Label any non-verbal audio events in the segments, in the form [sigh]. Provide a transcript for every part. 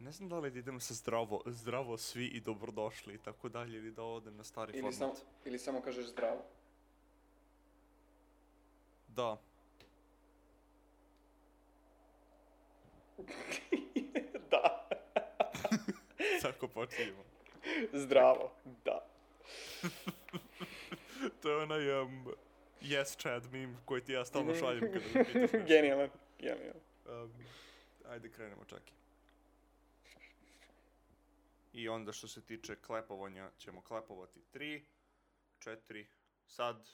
Ne znam da li da idem sa zdravo, zdravo svi i dobrodošli i tako dalje, ili da odem na stari Ili format. samo, ili samo kažeš zdravo. Da. da, Tako [laughs] počinjemo. zdravo, da. to je onaj um, yes chat meme koji ti ja stalno Mhm. šaljem [laughs] kada me pitaš [laughs] nešto. genijalan, genijalan. Um, ajde krenemo čaki. I onda što se tiče klepovanja, ćemo klepovati 3, 4, sad.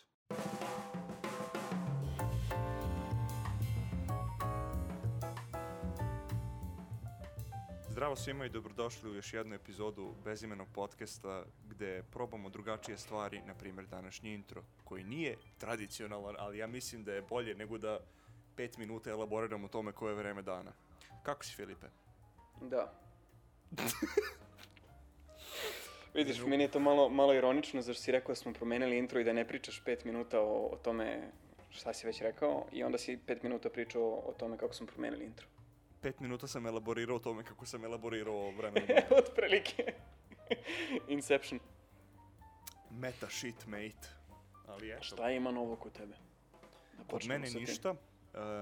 Zdravo svima i dobrodošli u još jednu epizodu bezimenog podcasta gde probamo drugačije stvari, na primjer današnji intro, koji nije tradicionalan, ali ja mislim da je bolje nego da pet minuta elaboriram o tome koje je vreme dana. Kako si, Filipe? Da. Vidiš, meni je to malo, malo ironično, zašto si rekao da smo promenili intro i da ne pričaš pet minuta o, o tome šta si već rekao i onda si pet minuta pričao o tome kako smo promenili intro. Pet minuta sam elaborirao o tome kako sam elaborirao o [laughs] vremenu. Od prilike. [laughs] Inception. Meta shit, mate. Ali eto, Šta ima novo kod tebe? Da kod počnemo mene sa tim. ništa.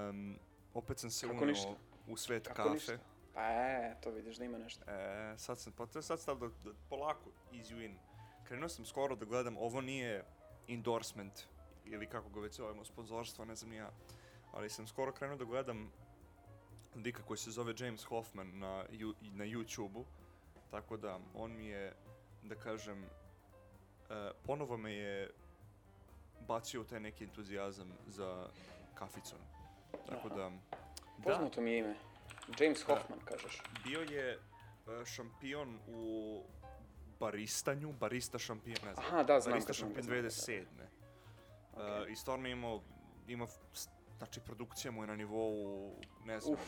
Um, opet sam se Kako uneo ništa? u svet Kako kafe. ništa? Pa e, to vidiš da ima nešto. E, sad sam, pa to je sad stav da, da polako izjuin. Krenuo sam skoro da gledam, ovo nije endorsement ili kako ga već zovemo, sponzorstvo, ne znam ni ja. Ali sam skoro krenuo da gledam lika koji se zove James Hoffman na, ju, na YouTube-u. Tako da, on mi je, da kažem, e, ponovo me je bacio u taj neki entuzijazam za kaficom. Tako da, da, Poznato mi je ime. James Hoffman, kažeš. bio je e, šampion u baristanju, barista šampion, ne znam. Aha, da, znam. barista ga, znam ga, šampion znam ga, 2007. Okej. Okay. I stvarno imao, ima, s- znači produkcija mu je na nivou, ne znam, Uf,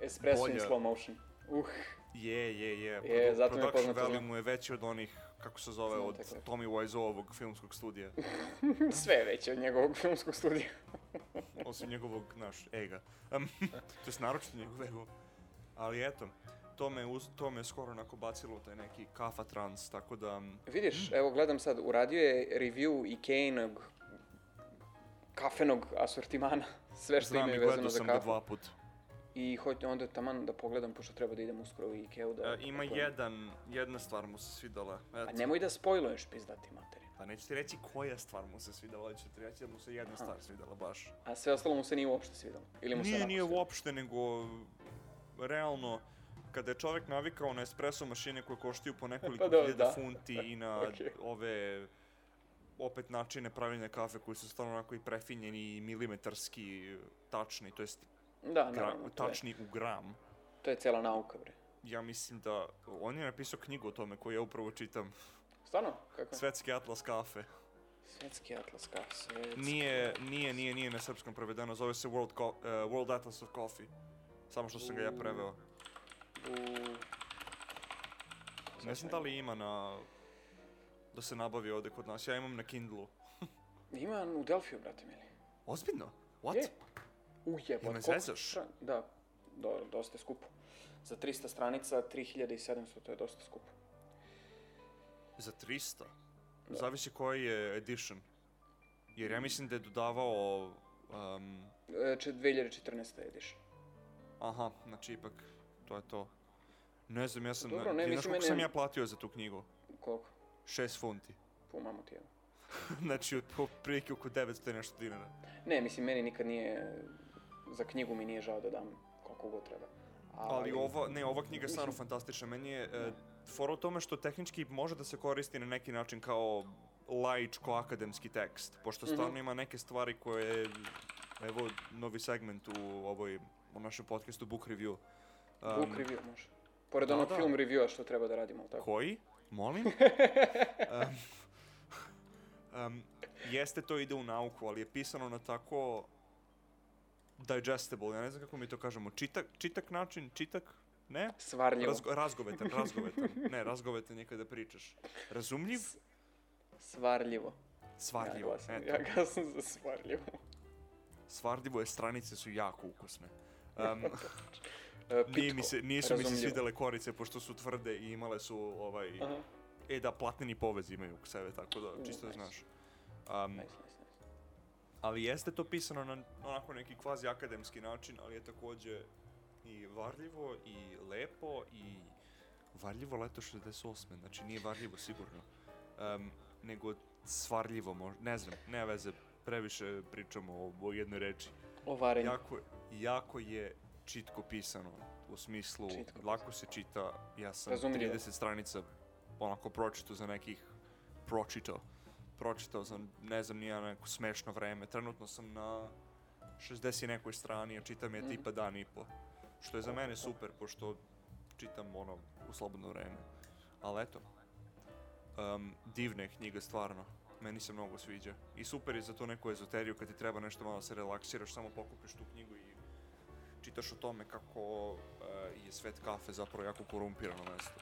Espresso in Bolja. slow motion. Uh, [laughs] je, je, je, Je, produ- zato mi je production poznato, value da. mu je veći od onih, kako se zove, Znam od tako je. Tommy Wiseau-ovog filmskog [laughs] studija, sve je veće od njegovog [laughs] filmskog studija. osim njegovog, naš, ega. Um, [laughs] to je naročito njegov ego. Ali eto, to me, uz, to me skoro onako bacilo u taj neki kafa trans, tako da... m, Vidiš, Mm. evo gledam sad, uradio je review Ikeinog kafenog asortimana, [laughs] sve što Znam i imaju vezano gledao za sam ga kafu. dva put. I hoću onda taman da pogledam, pošto treba da idem uskoro u Ikeu da... E, ima kupujem. jedan, jedna stvar mu se svidala. Eto. A nemoj da spojluješ pizdati materiju. Pa neću ti reći koja stvar mu se svidala, ali ću ti reći da mu se jedna Aha. stvar svidala baš. A sve ostalo mu se nije uopšte svidalo. Ili mu se Nije, onako nije svidalo? uopšte, nego realno, kada je čovjek navikao na espresso mašine koje koštaju po nekoliko Pa dobro, hiljada [laughs] da. funti i [laughs] na Okej. ove opet načine pravljenja kafe koji su stvarno onako i prefinjeni i milimetarski tačni, to jest Da, gra- naravno, to je, tačni u gram. to je cela nauka, bre. Ja mislim da on je napisao knjigu o tome koju ja upravo čitam. Stvarno? Kako je? Svetski atlas kafe. Svetski atlas kafe, svetski... Nije, nije, nije, nije na srpskom prevedeno, zove se World, Co uh, World Atlas of Coffee. Samo što sam ga ja preveo. U... Ne znam da li ima na... Da se nabavi ovde kod nas, ja imam na Kindlu. Ima u Delfiju, brate mili. Ozbiljno? What? Je. U jebote. Jel me koliko zezaš? stran- Da, do, dosta je skupo. Za 300 stranica, 3700, to je dosta skupo. Za 300? Da. Zavisi koji je edition. Jer ja mislim da je dodavao... Um, E, če- 2014. ediš. aha, znači ipak, to je to. Ne znam, ja sam... Dobro, ne, ti znaš mislim, koliko meni- sam ja platio za tu knjigu? Koliko? 6 funti. [laughs] Pumamo ti jedno. znači, otprilike oko 900 i nešto dinara. Ne, mislim, meni nikad nije... Za knjigu mi nije žao da dam koliko god treba. Ali ova, ne, ova knjiga je stvarno Mislim- fantastična. Meni je Da. e, fora u tome što tehnički može da se koristi na neki način kao laičko-akademski tekst, pošto Mhm. stvarno ima neke stvari koje, evo, novi segment u ovoj, u našem podcastu Book Review. Um, Book review može. Pored da, onog da. film reviewa što treba da radimo, ali tako? Koji? [laughs] Molim? um, um, jeste to ide u nauku, ali je pisano na tako digestible, ja ne znam kako mi to kažemo, čitak, čitak način, čitak, ne? Svarljivo. Razgo, razgovetan, razgovetan. Ne, razgovetan je kada pričaš. Razumljiv, Svarljivo. svarljivo. Ja glasam, Eto, ja glasam za svarljivo. [laughs] svarljivo je, stranice su jako ukusne. Um, e, Nije mi pitko, se, nisu mi se razumljivo. svidele korice, pošto su tvrde i imale su ovaj... Aha, E da, platneni povez imaju k sebe, tako da, U, čisto da nice. znaš. Um, nice, nice, nice. ali jeste to pisano na onako neki kvazi akademski način, ali je takođe i varljivo i lepo i varljivo leto 68. Znači nije varljivo sigurno, um, nego svarljivo možda, ne znam, ne veze, previše pričamo o, o jednoj reči. Ovarenje. Jako, jako je čitko pisano, u smislu, Čitko lako se čita, ja sam Razumljivo. 30 stranica onako pročitao za nekih, pročitao, pročitao sam, ne znam, nija neko smešno vreme, trenutno sam na 60 i nekoj strani, a čitam je Mhm. tipa dan i po, što je za mene super, pošto čitam ono u slobodno vreme, ali eto, um, divne knjige stvarno, meni se mnogo sviđa. I super je za to neku ezoteriju kad ti treba nešto malo da se relaksiraš, samo pokupiš tu knjigu i čitaš o tome kako uh, je svet kafe zapravo jako korumpirano mesto.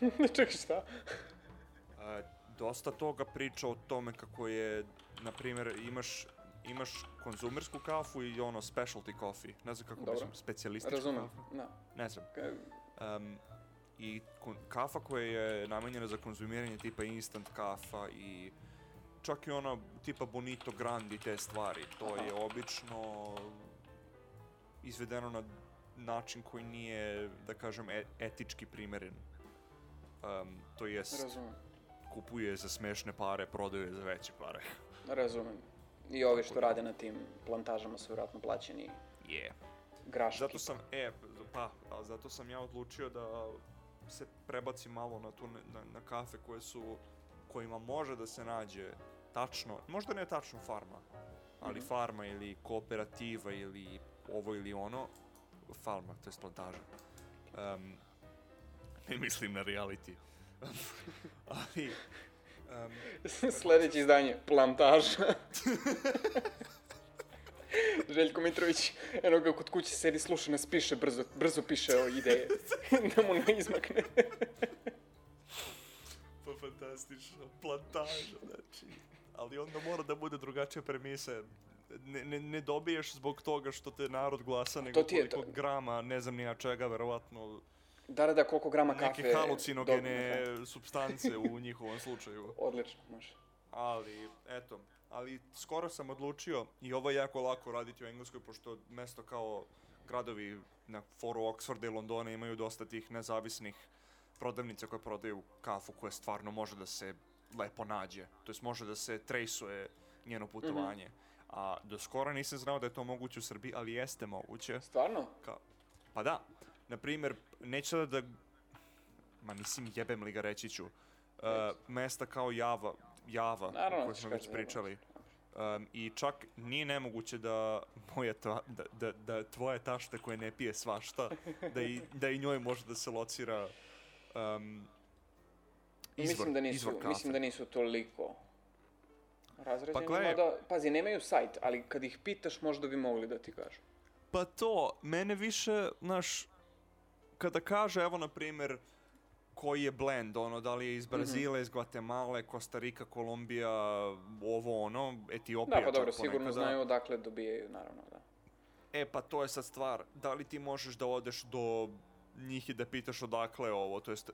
[laughs] Čekaj, šta? E, dosta toga priča o tome kako je, na primjer, imaš imaš konzumersku kafu i ono specialty coffee, ne znam kako Dobro. mislim, specijalističku Razumem, kafu, da. ne znam. Ka- Um, I kon- kafa koja je namenjena za konzumiranje tipa instant kafa i čak i ona tipa Bonito Grandi te stvari. To Aha. je obično izvedeno na način koji nije, da kažem, e- etički primeren. Um, to jest, Razumem, kupuje za smešne pare, prodaje za veće pare. razumem. I ovi što rade na tim plantažama su vjerojatno plaćeni Yeah. graški. Zato sam, e, pa, a zato sam ja odlučio da se prebacim malo na, tu, ne- na, na kafe koje su, kojima može da se nađe tačno, možda ne tačno farma, ali Mhm. farma ili kooperativa ili ovo ili ono, farma, to je plantaža. Um, ne mislim na reality. [laughs] ali, um, [laughs] Sljedeće izdanje, plantaža. [laughs] Željko Mitrović, eno ga kod kuće sedi, sluša nas, piše, brzo, brzo piše o [laughs] ideje. [laughs] da mu ne izmakne. Pa fantastično, plantaža, znači. Ali onda mora da bude drugačija premisa. Ne, ne, ne dobiješ zbog toga što te narod glasa, nego To ti je koliko to. grama, ne znam ni ja čega, verovatno, Da, da, da, koliko grama kafe... neke halucinogene dobijemo, substance u njihovom slučaju. da. Odlično, može. Ali, eto, ali skoro sam odlučio i ovo je jako lako raditi u Engleskoj, pošto mesto kao gradovi na foru Oxforda i Londona imaju dosta tih nezavisnih prodavnica koje prodaju kafu koja stvarno može da se lepo nađe, to jest može da se trejsuje njeno putovanje. A do skoro nisam znao da je to moguće u Srbiji, ali jeste moguće. Stvarno? Kao, pa da, na primjer, neću sada da... Ma mislim, jebem li ga reći ću. Uh, mesta kao Java, Java, Naravno o da kojoj ćeš smo već kazniti, pričali. Um, I čak nije nemoguće da moja ta, da, da, da tvoja tašta koja ne pije svašta, da [laughs] i, da i njoj može da se locira um, izvor, mislim da nisu, izvor kafe. mislim da nisu toliko razređeni, gle- mada, pazi, nemaju sajt, ali kad ih pitaš možda bi mogli da ti kažu. Pa to, mene više, znaš, kada kaže, evo, na primjer, koji je blend, ono, da li je iz Mhm. Brazila, iz Guatemala, Kostarika, Kolumbija, ovo, ono, Etiopija. Da, pa čak dobro, sigurno ponekada. znaju odakle dobijaju, naravno, da. E, pa to je sad stvar, da li ti možeš da odeš do njih i da pitaš odakle je ovo, to jest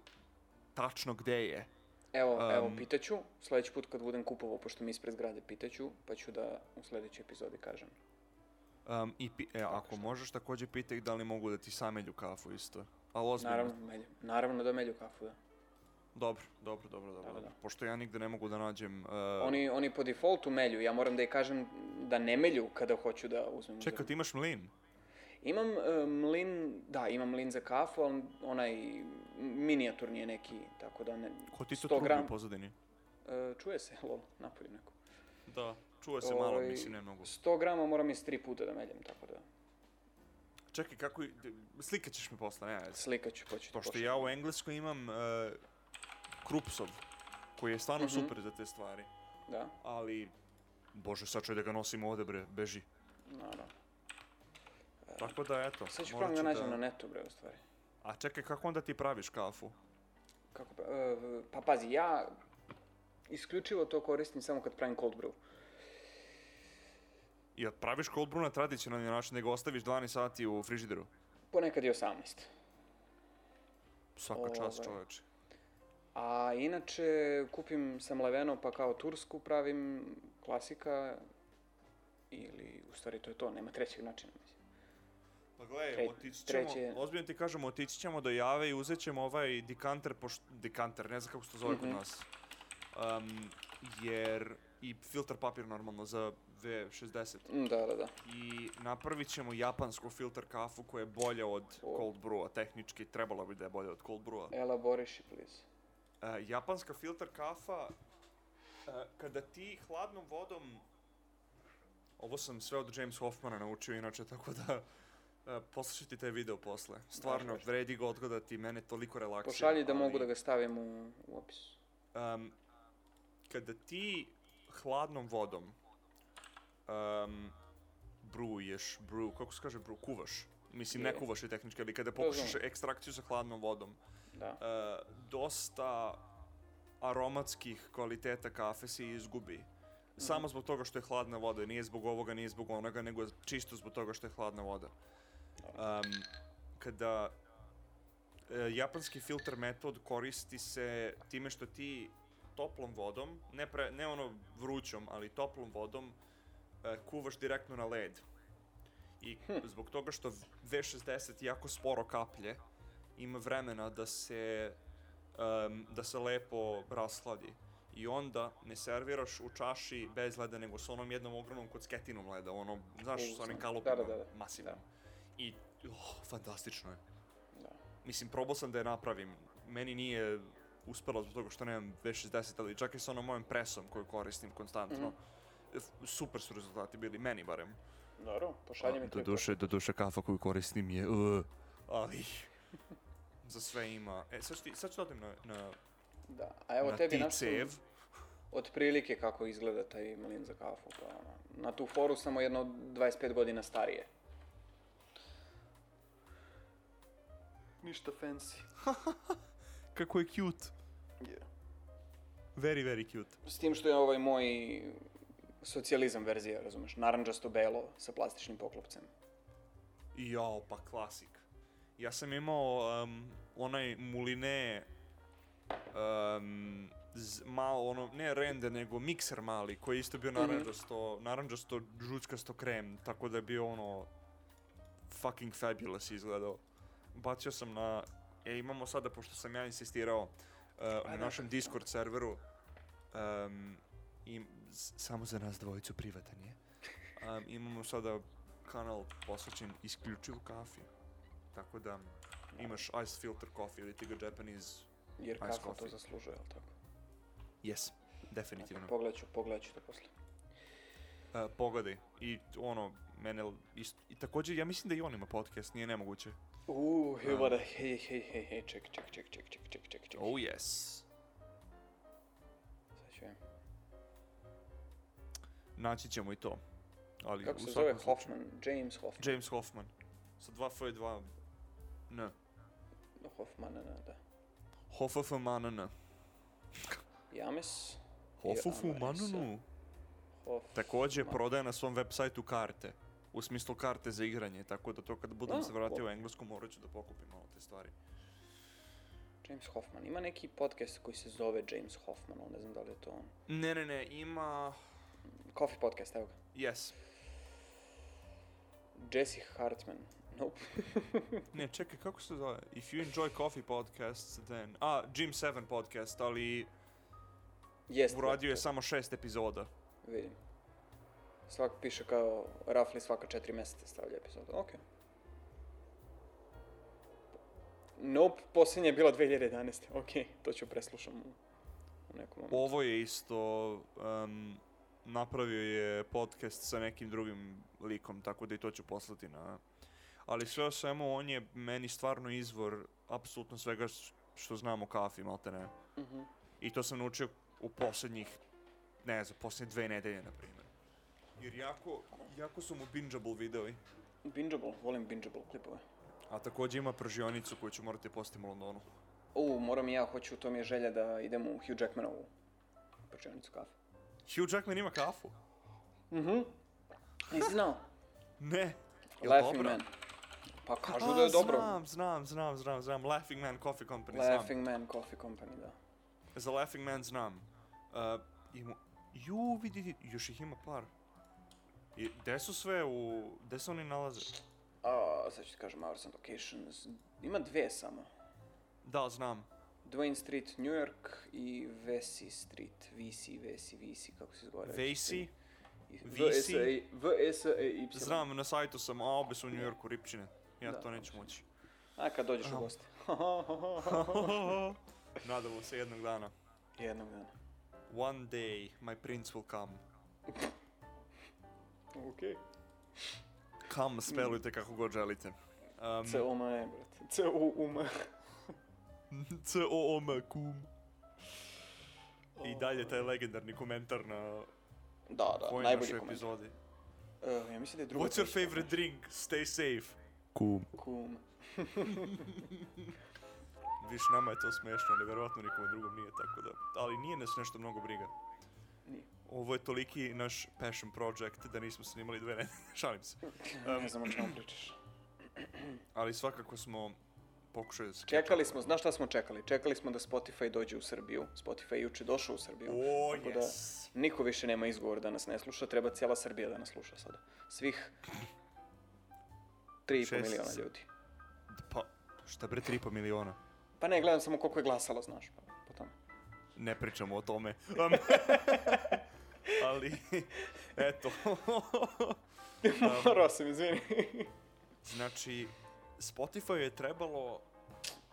tačno gde je. Evo, evo, Am. pitaću, sljedeći put kad budem kupovao, pošto mi ispred zgrade pitaću, pa ću da u sljedećoj epizodi kažem. Um, i pi- e, ako što. možeš, takođe pitaj ih da li mogu da ti samelju kafu isto. Ali ozbiljno. Naravno, melju, naravno da melju kafu, da. Dobro, dobro, dobro, dobro. da. dobro. Pošto ja nigde ne mogu da nađem... Uh, Oni, oni po defaultu melju, ja moram da je kažem da ne melju kada hoću da uzmem uzor. Čekaj, ti imaš mlin? Imam e, mlin, da, imam mlin za kafu, ali onaj minijaturni je neki, tako da ne... Ko ti to 100 trubi gram. u pozadini? E, čuje se, [laughs] lol, napolju neko. Da, čuje se malo, Ovaj, mislim, ne mnogo. 100 grama moram iz tri puta da meljem, tako da Čekaj, kako... i- d- Slikat ćeš mi posle, ne vezi. slikat ću, pa ću ti Pošto pošaljem. ja u Engleskoj imam uh, krupsov, koji je stvarno Mhm. super za te stvari, Da, ali... Bože, sačuj da ga nosim ovde, bre, beži. naravno. Tako da, eto, Sad ću morat probam da ću nađem na netu, bre, u stvari. A čekaj, kako onda ti praviš kafu? Kako, pa, e, pa pazi, ja isključivo to koristim samo kad pravim cold brew. Jel praviš cold brew na tradicionalni način, nego ostaviš 12 sati u frižideru? ponekad i 18. Svaka čast Ovaj. čoveče. A inače kupim sam leveno pa kao tursku pravim klasika ili u stvari to je to, nema trećeg načina. Mislim. Pa gledaj, Tre- otići ćemo, treće- ozbiljno ti kažemo, otići ćemo do jave i uzet ćemo ovaj dekanter, poš, dekanter, ne znam kako se to zove kod Mhm. nas. Um, jer, i filter papir normalno za V60. Mm, Da, da, da. I napravit ćemo japansku filter kafu koja je bolja od O. cold brewa, tehnički trebala bi da je bolja od cold brewa. Elaboriši, please. E, japanska filter kafa, e, kada ti hladnom vodom, ovo sam sve od James Hoffmana naučio inače, tako da e, poslušaj ti taj video posle. Stvarno, Može. vredi ga odgledati, mene toliko relaksira. Pošalji da ali, mogu da ga stavim u, u opis. em, kada ti hladnom vodom um, bruješ, bru, kako se kaže bru, kuvaš. Mislim, ne Je. kuvaš je tehnički, ali kada pokušaš Razumem. ekstrakciju sa hladnom vodom, Da. e, dosta aromatskih kvaliteta kafe se izgubi. Samo zbog toga što je hladna voda, nije zbog ovoga, nije zbog onoga, nego čisto zbog toga što je hladna voda. Um, kada e, japanski filter metod koristi se time što ti toplom vodom, ne, pre, ne ono vrućom, ali toplom vodom, e, kuvaš direktno na led. I Hm. zbog toga što V60 jako sporo kaplje, ima vremena da se em, da se lepo rashladi. I onda ne serviraš u čaši bez leda, nego sa onom jednom ogromnom kocketinom leda, ono, znaš, U, sa onim znam. kalupima, Da, da, da, da. masivnim. I, oh, fantastično je. Da. Mislim, probao sam da je napravim. Meni nije uspelo zbog toga što nemam V60, ali čak i sa onom mojom presom koju koristim konstantno. F- Super su rezultati bili, meni barem. Dobro, pošalji mi klipu. do duše kafa koju koristim je... uh. ali... Za sve ima. E, sad, ću ti, sad ću dotim na, na, Da. A evo na tebi ti našao cev. otprilike kako izgleda taj mlin za kafu. Pa, ono, na tu foru samo jedno 25 godina starije. Ništa fancy. Kako je cute. Very, very cute. S tim što je ovaj moj socijalizam verzija, razumeš, narandžasto belo sa plastičnim poklopcem. Jao, pa klasik. Ja sam imao um, onaj muline um, z, malo ono, ne render, nego mikser mali, koji je isto bio naranđasto, naranđasto, žučkasto krem, tako da je bio ono fucking fabulous izgledao. Bacio sam na, e imamo sada, pošto sam ja insistirao uh, na da, našem Discord serveru, um, im, s- samo za nas dvojicu privatan [laughs] je. Um, imamo sada kanal posvećen isključivo kafi. Tako da imaš ice filter coffee ili ti ga Japanese. Jer Ice kafa to coffee. zaslužuje, jel tako? Yes, definitivno. Pogledat ću, pogledat ću to posle. Uh, pogledaj. I ono, mene l- isto... I također, ja mislim da i on ima podcast, nije nemoguće. Uuu, Da. hej, hej, hej, hej, hej, ček, ček, ček, ček, ček, ček, ček, ček. Oh, yes. Sad ću ja. Naći ćemo i to. Ali Kako u se svakom zove slučaju- Hoffman? James Hoffman. James Hoffman. Sa dva F i dva... N. Hoffman, da, da. Hoffmanana. James Hoffmananu. Hoffman. Također prodaje na svom web sajtu karte. U smislu karte za igranje, tako da to kad budem A, se vratio u cool. Englesku morat ću da pokupim malo te stvari. James Hoffman. Ima neki podcast koji se zove James Hoffman, ali ne znam da li je to on. Ne, ne, ne, ima... Coffee podcast, evo ga. Yes. Jesse Hartman. Nope. Ne, čekaj, kako se zove? If you enjoy coffee podcasts, then... A, Jim 7 podcast, ali Jest. uradio je to. samo šest epizoda. Vidim. Svak piše kao rafli svaka četiri mjeseca stavlja epizodu. Ok. Nope, posljednja je bila 2011. Ok, to ću preslušam u, u nekom momentu. Ovo je isto... em, napravio je podcast sa nekim drugim likom, tako da i to ću poslati na... Ali sve o svemu, on je meni stvarno izvor apsolutno svega s- što znam o kafi, malte ne. Mhm. I to sam naučio u posljednjih, ne znam, posljednje dve nedelje, na primjer. Jer jako, jako su mu bingeable videovi. Bingeable, volim bingeable klipove. A također ima pržionicu koju ću morati postiti u Londonu. U, moram i ja, hoću, to mi je želja da idem u Hugh Jackmanovu prčionicu kafe. Hugh Jackman ima kafu? Mhm. Nisi znao? Ne. Jel Laughing dobra? Man. Pa kažu da je dobro. Znam, znam, znam, znam, znam. Laughing Man Coffee Company znam. Laughing Man Coffee Company, da. Za Laughing Man znam. Uh, ima... Ju, vidi, još ih ima par. I, gde su sve u... Gde se oni nalaze? A, sad ću ti kažem hours and locations. Ima dve samo. Da, znam. Dwayne Street, New York i Vesey Street. VC, Vesey, VC, kako se izgovara. Vacey. VC? VC? VSEY. E Znam, na sajtu sam, a obe su u New Yorku ripčine. Ja Da, to neću [laughs] općine. moći. [laughs] A kad dođeš u Aha. goste. [laughs] Nadamo se jednog dana. Jednog dana. One day my prince will come. Okej. Come spelujte kako god želite. Um, c o m e brate. c o u m E. [laughs] C-O-O-M, kum. I dalje taj legendarni komentar na Da, da, ovoj Pa, najbolji našoj komentar. epizodi. Uh, ja mislim da je druga. What's your točka. favorite drink? Stay safe. Kum. Kum. Viš, nama je to smešno, ali verovatno nikom drugom nije, tako da... Ali nije nas nešto mnogo briga. Nije. Ovo je toliki naš passion project da nismo snimali dve nedelje, [laughs] šalim se. Um, ne znam o čemu [clears throat] pričaš. Ali svakako smo pokušali da se Čekali smo, znaš šta smo čekali? Čekali smo da Spotify dođe u Srbiju. Spotify je juče došao u Srbiju. O, Tako da- yes. Niko više nema izgovor da nas ne sluša, treba cijela Srbija da nas sluša sada. Svih 3,5 Šest. miliona ljudi. Pa, šta bre, 3,5 miliona? Pa ne, gledam samo koliko je glasalo, znaš, pa, po tome. Ne pričamo o tome. Um, ali, eto. [laughs] Morao sam, izvini. znači, Spotify je trebalo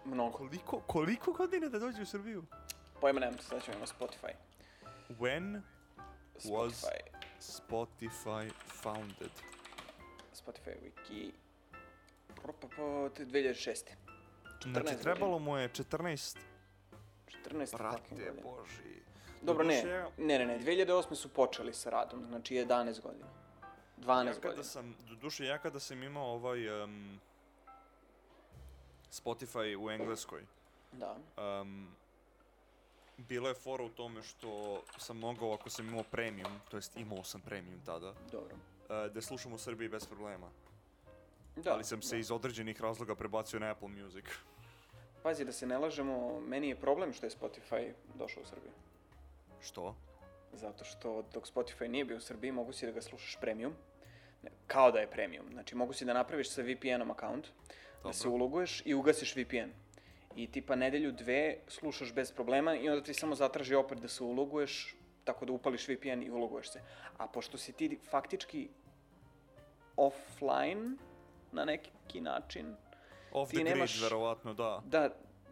Mnogo. koliko, koliko godina da dođe u Srbiju? Pojma nemam, sad ćemo imamo Spotify. When Was- Spotify. Spotify founded? Spotify Wiki. Pro, pa, pa, 2006. 14 Znači, trebalo mu je 14... 14 fucking Brate, godina. boži. Dobro, ne, Doduše, ne, ne, ne, 2008. su počeli sa radom, znači 11 godina. Ja 12 godina. kada sam, doduše, ja kada sam imao ovaj em, Spotify u Engleskoj, Da. um, bila je fora u tome što sam mogao, ako sam imao premium, to jest imao sam premium tada, Dobro. e, da slušam u Srbiji bez problema. Da, Ali sam se da. iz određenih razloga prebacio na Apple Music. [laughs] Pazi, da se ne lažemo, meni je problem što je Spotify došao u Srbiju. Što? Zato što dok Spotify nije bio u Srbiji, mogu si da ga slušaš premium. Ne, kao da je premium. Znači, mogu si da napraviš sa VPN-om account, da se Dobro. uloguješ i ugasiš VPN. I tipa nedelju dve slušaš bez problema i onda ti samo zatraži opet da se uloguješ, tako da upališ VPN i uloguješ se. A pošto si ti faktički offline na neki način, Off Ti the grid, nemaš- verovatno, da. Da,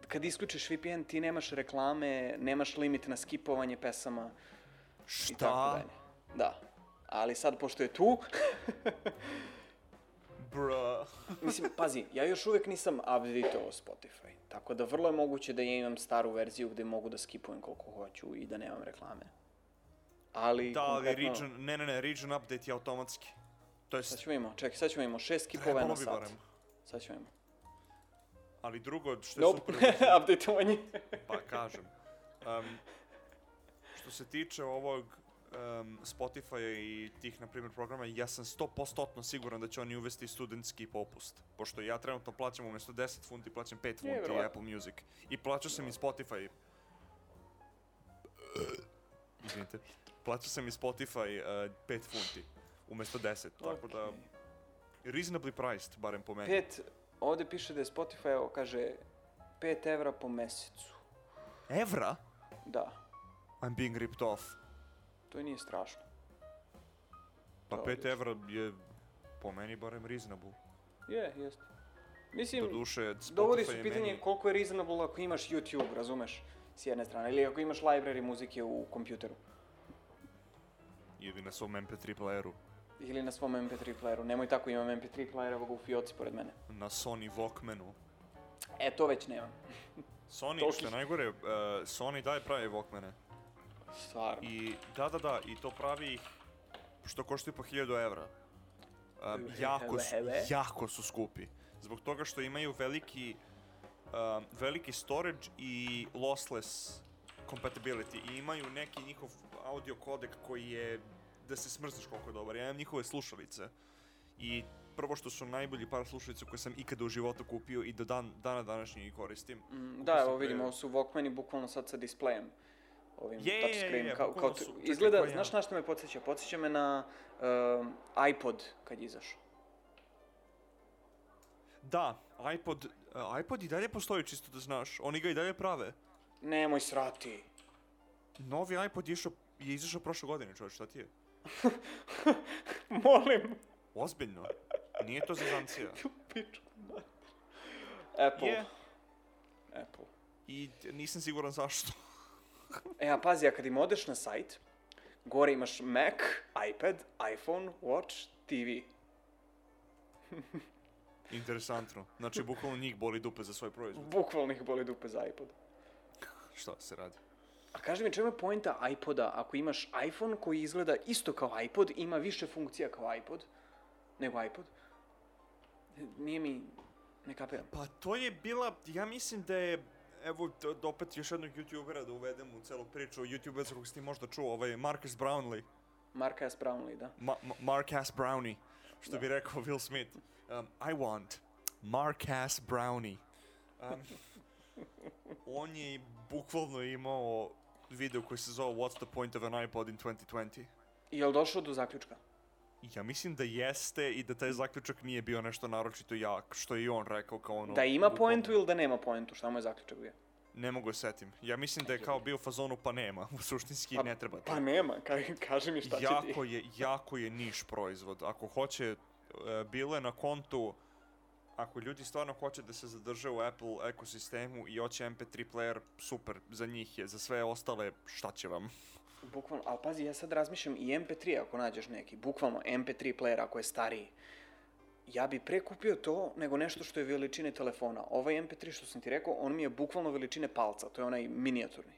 kad isključiš VPN ti nemaš reklame, nemaš limit na skipovanje pesama i tako Šta? dalje. Da. Ali sad, pošto je tu, [laughs] Bra. mislim, pazi, ja još uvek nisam updateovao Spotify. Tako da vrlo je moguće da ja imam staru verziju gde mogu da skipujem koliko hoću i da nemam reklame. Ali, Da, ali konkretno, region, ne, ne, ne, region update je automatski. To Sad jest, ćemo imamo, čekaj, sad ćemo imamo šest skipova trebalo na bi sat. barem. Sad ćemo imamo. Ali drugo, što je Nope, super, [laughs] updateovanje. pa kažem. Um, što se tiče ovog um, Spotify i tih, na primjer, programa, ja sam 100% siguran da će oni uvesti studentski popust. Pošto ja trenutno plaćam umjesto 10 funti, plaćam 5 Nije funti i verovatno. Apple Music. I plaćao sam i Spotify. Izvinite. Plaćao sam i Spotify uh, 5 funti umjesto 10, tako da Okej. reasonably priced, barem po meni. Pet, ovde piše da je Spotify, evo, kaže, 5 evra po mesecu. Evra? Da, I'm being ripped off. to i nije strašno. Pa 5 Da, odlično. evra je po meni barem reasonable. Je, jeste. Mislim, Doduše, Spotify dovodi su je pitanje meni... koliko je reasonable ako imaš YouTube, razumeš? S jedne strane, ili ako imaš library muzike u kompjuteru. Ili na svom MP3 playeru. Ili na svom MP3 playeru, nemoj tako, imam MP3 player, evo ga u fioci pored mene. Na Sony Walkmanu. E, to već nemam. Sony, Toliki što je su- najgore, uh, Sony daje prave Walkmane. Stvarno. I da, da, da, i to pravi ih što koštaju po 1000 evra. Um, Hele, jako, su, hele. jako su skupi. Zbog toga što imaju veliki, um, veliki storage i lossless compatibility. I imaju neki njihov audio kodek koji je da se smrzneš koliko je dobar. Ja imam njihove slušalice. I prvo što su najbolji par slušalica koje sam ikada u životu kupio i do dan, dana današnje ih koristim. Mm, Kupio Da, sam evo pre- vidimo, ovo su Walkmani bukvalno sad sa displejem. Ovim Je, je, touchscreen, je, kao, kao bukvalno tu, su- čekaj, izgleda, koji je znaš ono? na što me podsjeća? Podsjeća me na um, iPod kad je izašao. Da, iPod, uh, iPod i dalje postoji čisto da znaš, oni ga i dalje prave. Nemoj [laughs] srati. Novi iPod je, išao, je izašao prošle godine, čovječ, šta ti je? Molim. Ozbiljno. Nije to zezancija. Tu pičku mater. Apple. Je. Apple. I t- nisam siguran zašto. [laughs] E, a pazi, a kad im odeš na sajt, gore imaš Mac, iPad, iPhone, Watch, TV. Interesantno. Znači, bukvalno njih boli dupe za svoj proizvod. Bukvalno ih boli dupe za iPod. Šta se radi? A kaži mi, čemu je poenta iPoda ako imaš iPhone koji izgleda isto kao iPod, ima više funkcija kao iPod, nego iPod? Nije mi... Ne kapiram. Pa to je bila, ja mislim da je, evo d- d- opet još jednog youtubera da uvedem u celu priču, youtuber za kog si ti možda čuo, ovaj Marcus Brownlee, Marka S. Brownlee, da. Ma, Ma, Marcus Brownie, što Da. bi rekao Will Smith. Um, I want Marcus Brownie. Um, on je bukvalno imao video koji se zove What's the point of an iPod in 2020? I Jel došao do zaključka? Ja mislim da jeste i da taj zaključak nije bio nešto naročito jak, što je i on rekao kao ono... da ima bukvalno- poentu ili da nema poentu, šta mu je zaključak bio? Ne mogu setim. Ja mislim da je kao bio u fazonu pa nema, u suštinski ne treba. to. Pa nema, ka- kaži mi šta će ti. jako je, jako je niš proizvod. Ako hoće, e, bile na kontu, ako ljudi stvarno hoće da se zadrže u Apple ekosistemu i hoće MP3 player, super, za njih je, za sve ostale, šta će vam? Bukvalno, ali pazi, ja sad razmišljam i MP3 ako nađeš neki, bukvalno MP3 player ako je stariji. Ja bi pre kupio to nego nešto što je veličine telefona. Ovaj MP3 što sam ti rekao, on mi je bukvalno veličine palca, to je onaj minijaturni.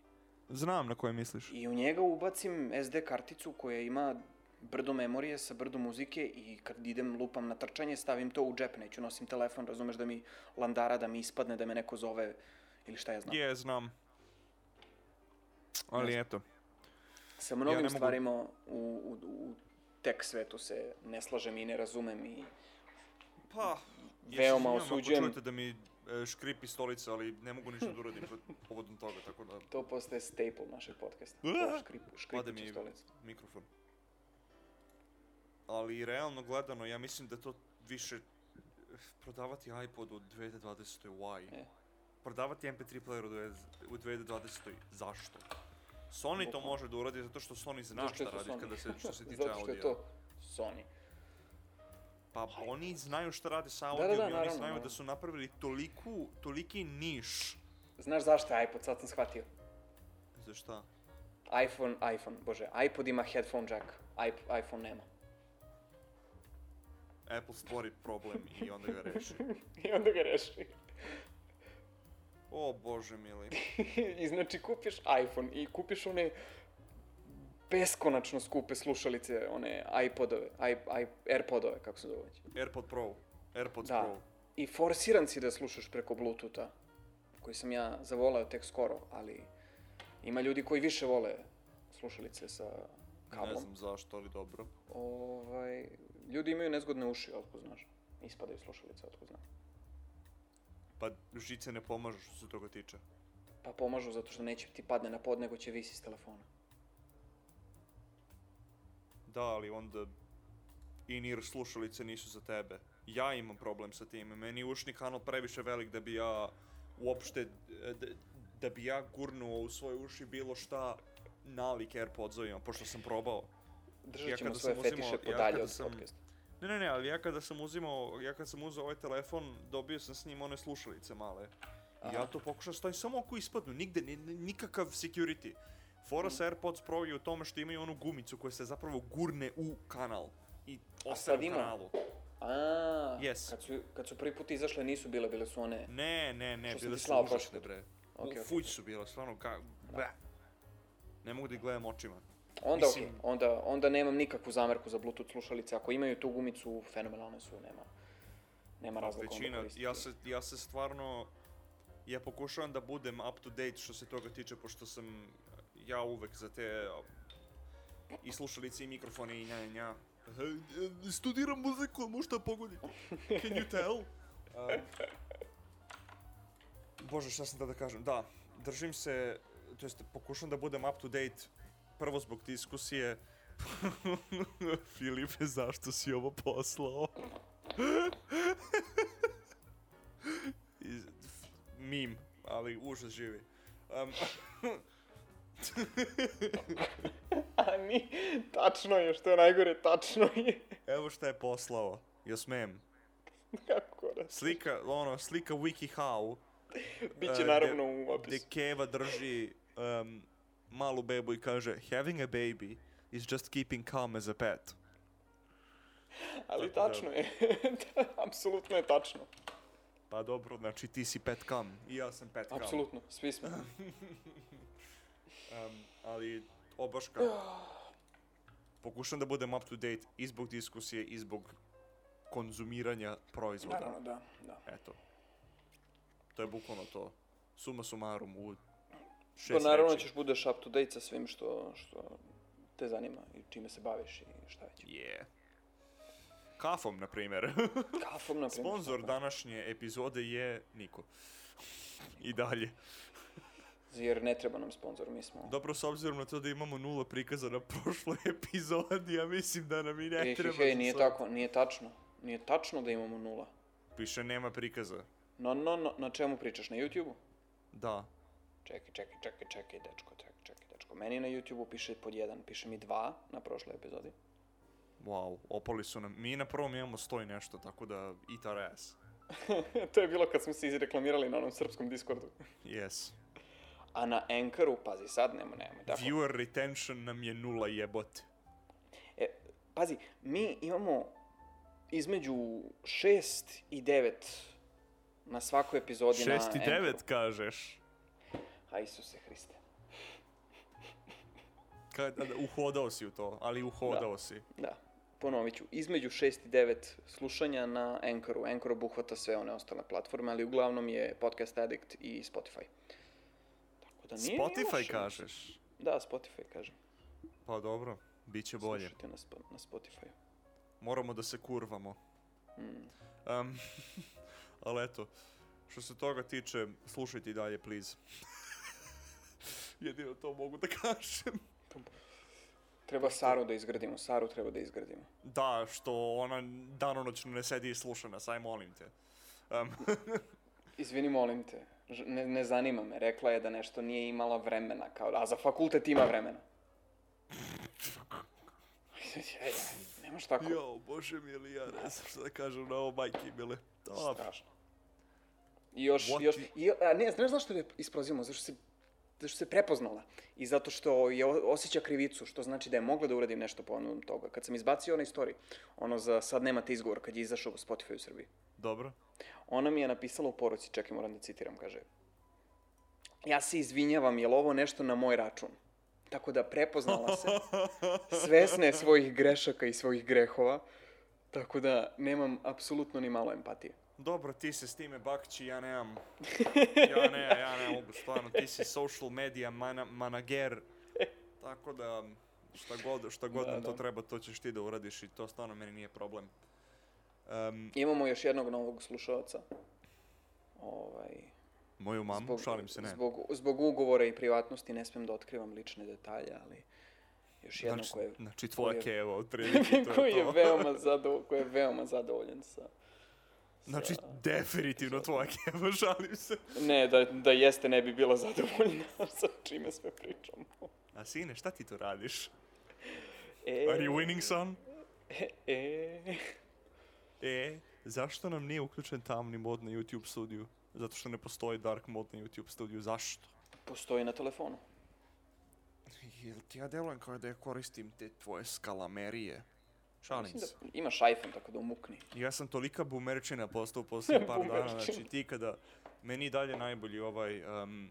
Znam na koje misliš. I u njega ubacim SD karticu koja ima brdo memorije sa brdo muzike i kad idem lupam na trčanje stavim to u džep, neću nosim telefon, razumeš da mi landara, da mi ispadne, da me neko zove ili šta ja znam. Je, znam. Ali eto, Sa mnogim ne mogu- stvarima u, u, u tek svetu se ne slažem i ne razumem i pa... ja se Veoma izvinjavam osuđujem. Ako čujete da mi e, škripi stolica, ali ne mogu ništa da uradim pod povodom toga, tako da to postaje staple našeg podcasta. Uaa! To škrip, Pade mi škripuća stolica. mikrofon. Ali realno gledano, ja mislim da to više eh, prodavati iPod u 2020. why? E. Prodavati MP3 player u 20 u 2020. zašto? Sony to Bukvalno. može da uradi zato što Sony zna Zato šta što je to radi Sony. kada se [laughs] što se tiče Zato što je to audio. Sony. Pa oni znaju šta radi sa da, audio i oni naravno, znaju naravno. da su napravili toliku, toliki niš. Znaš zašto je iPod, sad sam shvatio. Za šta? iPhone, iPhone, bože, iPod ima headphone jack, iP- iPhone nema. [laughs] Apple stvori problem i onda ga [laughs] reši. I onda ga reši. [laughs] O bože mili. I znači kupiš iPhone i kupiš one beskonačno skupe slušalice, one iPodove, i, i, AirPodove, kako se zove. AirPod Pro. AirPods Da. Pro. I forsiran si da slušaš preko Bluetootha, koji sam ja zavoleo tek skoro, ali ima ljudi koji više vole slušalice sa Ne kablom. znam zašto, ali dobro. Ovaj, ljudi imaju nezgodne uši, otko znaš. Ispadaju slušalice, otko znaš. Pa žice ne pomažu što se toga tiče. Pa pomažu zato što neće ti padne na pod, nego će visi s telefona. Da, ali onda in-ear slušalice nisu za tebe. Ja imam problem sa time. Meni je ušni kanal previše velik da bi ja uopšte, e, da, da bi ja gurnuo u svoje uši bilo šta nalik AirPodsovima, pošto sam probao. Ja Držat ćemo kada svoje sam uzimao- fetiše ja podalje kada od sam- podcasta. Ne, ne, ne, ali ja kada sam uzimao, ja kad sam uzeo ovaj telefon, dobio sam s njim one slušalice male. I ja Aha. to pokušam stavim samo ako ispadnu, nigde, ni- ni- nikakav security. Fora Mhm. sa AirPods Pro je u tome što imaju onu gumicu koja se zapravo gurne u kanal. I sad ostaje u ima? kanalu. A, Yes. kad, su, kad su prvi put izašle nisu bile, bile su one... Ne, ne, ne, Što sam bile ti su slao prošli užasne put. bre. Okej, Okay, okej. Fuć su bile, stvarno ka... Bleh. Ne mogu da ih gledam očima. Onda Mislim- okej, onda, onda nemam nikakvu zamerku za Bluetooth slušalice, ako imaju tu gumicu, fenomenalne su, nema, nema Pa, razloga. onda većina, koristiti. ja se, ja se stvarno, ja pokušavam da budem up to date što se toga tiče, pošto sam ja uvek za te a, i slušalice i mikrofone i nja, nja, nja. Studiram muziku, možda pogodite. Can you tell? Um, Bože, šta sam da da kažem? Da, držim se, to jest pokušam da budem up to date, prvo zbog diskusije. [laughs] Filipe, zašto si ovo poslao? Iz- f- Mim, ali užas živi. Um, [laughs] A ni, tačno je, što je najgore, tačno je. [laughs] [laughs] evo šta je poslao, ja smem. Kako raz. Slika, ono, slika WikiHow, Biće E, naravno gde- u gde opisu. Keva drži um, malu bebu i kaže Having a baby is just keeping calm as a pet. Ali tako da- tačno je. [laughs] Apsolutno je tačno. Pa dobro, znači ti si pet calm i ja sam pet calm. Apsolutno, svi smo. Um, ali [sighs] obaška. Pokušam da budem up to date i zbog diskusije i zbog konzumiranja proizvoda. Naravno, da, da. Eto. To je bukvalno to. Suma sumarum u To šest naravno reči. ćeš budeš up to date sa svim što, što te zanima i čime se baviš i šta već. Yeah. Kafom, na [laughs] primjer. Kafom, na primjer. Sponzor šta? današnje epizode je Niko. I dalje. Jer ne treba nam sponzor, mi smo... Dobro, s obzirom na to da imamo nula prikaza na prošloj [laughs] epizodi, ja mislim da nam i ne Hej, hej, treba. hej, za nije sad. tako, nije tačno. Nije tačno da imamo nula. Piše nema prikaza. No, no, no, na čemu pričaš? Na YouTube-u? Da. Čekaj, čekaj, čekaj, čekaj, dečko, čekaj, čekaj, dečko. Meni na YouTube-u piše pod jedan, piše mi dva na prošloj epizodi. [laughs] Wow, opali su nam. Mi na prvom imamo sto i nešto, tako da eat our ass. to je bilo kad smo se izreklamirali na onom srpskom Discordu. Yes. A na Anchoru, pazi sad, nema, nema. Tako. Viewer retention nam je nula jebote. E, pazi, mi imamo između 6 i 9 na svakoj epizodi na 6 i Anchoru. 9 kažeš. A Isuse Hriste. Kad, da, uhodao si u to, ali uhodao si. Da, ponovit ću, između 6 i 9 slušanja na Anchoru. Anchor obuhvata sve one ostale platforme, ali uglavnom je Podcast Addict i Spotify. Tako da nije Spotify loše. kažeš. Da, Spotify kažem. Pa dobro, bit će bolje. Slušajte na, Spo- na Spotify. Moramo da se kurvamo. Mm. Um, [laughs] ali eto, što se toga tiče, slušajte i dalje, please. [laughs] Jedino to mogu da [laughs] kažem. Treba Saru da izgradimo, Saru treba da izgradimo. Da, što ona danonoćno ne sedi i sluša nas, aj molim te. Um, Izvini, molim te, ž- ne, ne zanima me, rekla je da nešto nije imala vremena, kao, a za fakultet ima [laughs] vremena. Ej, nemaš tako, [laughs] jo, bože mi ili ja ne znam šta da kažem na ovo majke bile. Da, strašno. I još, What još, i- i, a ne, znaš zašto je isprozimo, zašto se, zašto se prepoznala i zato što je o- osjeća krivicu, što znači da je mogla da uradim nešto povodom toga. Kad sam izbacio onaj story, ono za sad nemate izgovor, kad je izašao Spotify u Srbiji. dobro. Ona mi je napisala u poruci, čekaj moram da citiram, kaže Ja se izvinjavam, jel ovo nešto na moj račun? Tako da [laughs] prepoznala se, svesna je svojih grešaka i svojih grehova, tako da nemam apsolutno ni malo empatije. Dobro, ti se s time bakći, ja [laughs] nemam. Ja ne, ja ne mogu, stvarno, ti si social media mana, manager. Tako da, šta god, šta god Da, nam to da. treba, to ćeš ti da uradiš i to stvarno meni nije problem. Um, Imamo još jednog novog slušalca. Ovaj, moju mamu, šalim se, ne. Zbog, zbog ugovora i privatnosti ne smem da otkrivam lične detalje, ali još jedno znači, koje... znači tvoja koje- keva, [laughs] otprilike, to koji je je to. veoma zadovoljan, koji je veoma zadovoljan sa... Znači, definitivno [laughs] tvoja keva, šalim se. Ne, da, da jeste ne bi bila zadovoljna [laughs] sa čime sve pričamo. A sine, šta ti to radiš? E, Are you winning, son? E, e. E, zašto nam nije uključen tamni mod na YouTube studiju? Zato što ne postoji dark mod na YouTube studiju, zašto? Postoji na telefonu. Jel ti ja delujem kao da ja koristim te tvoje skalamerije? Šalim Mislim se. da imaš iPhone, tako da umukni. Ja sam tolika bumerčina postao posle par dana, znači Bumerčina. ti kada... Meni i dalje najbolji ovaj... Um,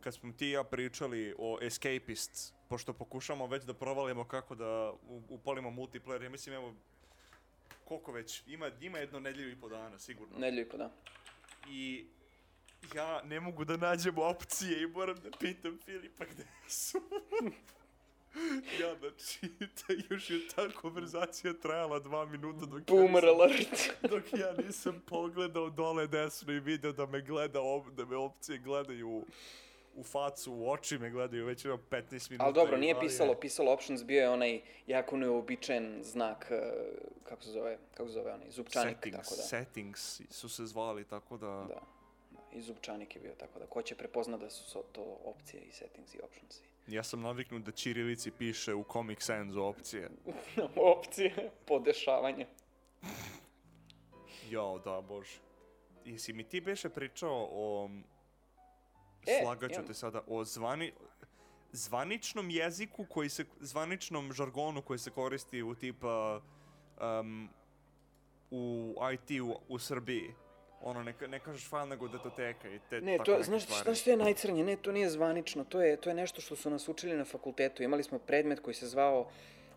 kad smo ti i ja pričali o Escapist, pošto pokušamo već da provalimo kako da u- upalimo multiplayer, ja mislim evo koliko već, ima, ima jedno nedjelju i po dana, sigurno. Nedlju i po dan. I ja ne mogu da nađem opcije i moram da pitam Filipa gde su. [laughs] ja, znači, ta, još je ta konverzacija trajala dva minuta dok, Boomer ja, alert. nisam, dok ja nisam pogledao dole desno i video da me gleda, op, da me opcije gledaju u, u facu, u oči me gledaju već jedno 15 minuta. Ali dobro, i nije dalje. pisalo, pisalo options, bio je onaj jako neuobičajen znak, eh, kako se zove, kako se zove onaj, zupčanik, settings, tako da. settings su se zvali, tako da... Da. Da, I zupčanik je bio tako da, ko će prepoznat da su so- to opcije i settings i [laughs] optionsi. Ja sam naviknut da Čirilici piše u Comic Sans opcije. opcije, podešavanje. Jao, da, bože. Jesi mi ti beše pričao o... E, E, Slagaću imam. te sada, o zvani... zvaničnom jeziku koji se, zvaničnom žargonu koji se koristi u tipa, um, u IT u, u Srbiji. Ono, ne, ka- ne kažeš fan nego datoteka i te Ne, tako to, neke znaš stvari. šta, što je najcrnje? Ne, to nije zvanično, to je, to je nešto što su nas učili na fakultetu. Imali smo predmet koji se zvao,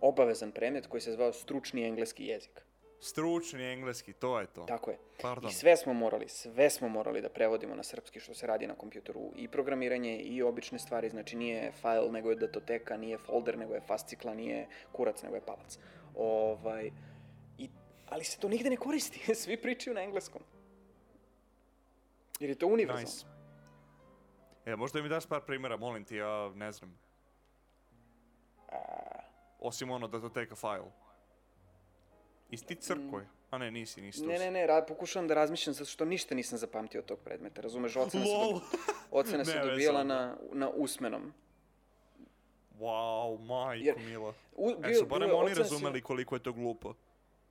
obavezan predmet koji se zvao stručni engleski jezik. Stručni engleski, to je to. Tako je. Pardon. I sve smo morali, sve smo morali da prevodimo na srpski što se radi na kompjuteru. I programiranje i obične stvari, znači nije file nego je datoteka, nije folder nego je fascikla, nije kurac nego je palac. Ovaj, i, ali se to nigde ne koristi, [laughs] svi pričaju na engleskom. Jer je to univerzalno. Nice. E, možda mi daš par primjera, molim ti, ja ne znam. A, Osim ono da to teka file. Jesi ti crkoj? A ne, nisi, nisi tu. Mm. Ne, ne, ne, ra, pokušavam da razmišljam zato što ništa nisam zapamtio od tog predmeta, razumeš, ocena se, LOL! dobi, ocena [laughs] se Ne, već dobijala sam. na, na usmenom. wow, majko Jer- mila. U, E, su barem je oni ocena se- razumeli koliko je to glupo.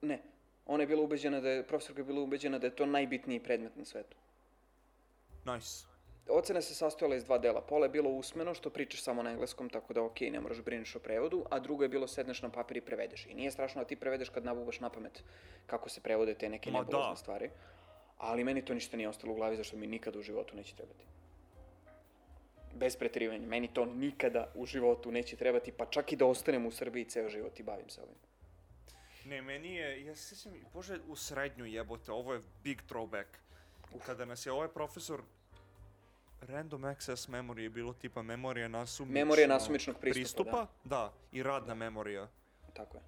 Ne, ona je bila ubeđena da je, profesorka je bila ubeđena da je to najbitniji predmet na svetu. Nice. Ocena se sastojala iz dva dela. Pola je bilo usmeno, što pričaš samo na engleskom, tako da ok, ne moraš brineš o prevodu, a drugo je bilo sedneš na papir i prevedeš. I nije strašno da ti prevedeš kad nabubaš na pamet kako se prevode te neke Ma nebulozne da. stvari. Ali meni to ništa nije ostalo u glavi, zašto mi nikada u životu neće trebati. Bez preterivanja, meni to nikada u životu neće trebati, pa čak i da ostanem u Srbiji ceo život i bavim se ovim. Ne, meni je, ja se sjećam, bože, u srednju jebote, ovo je big throwback. Kada nas je ovaj profesor Random access memory je bilo tipa memorija nasumičnog... Memorija nasumičnog pristupa, pristupa da. da. i radna memorija. Tako je.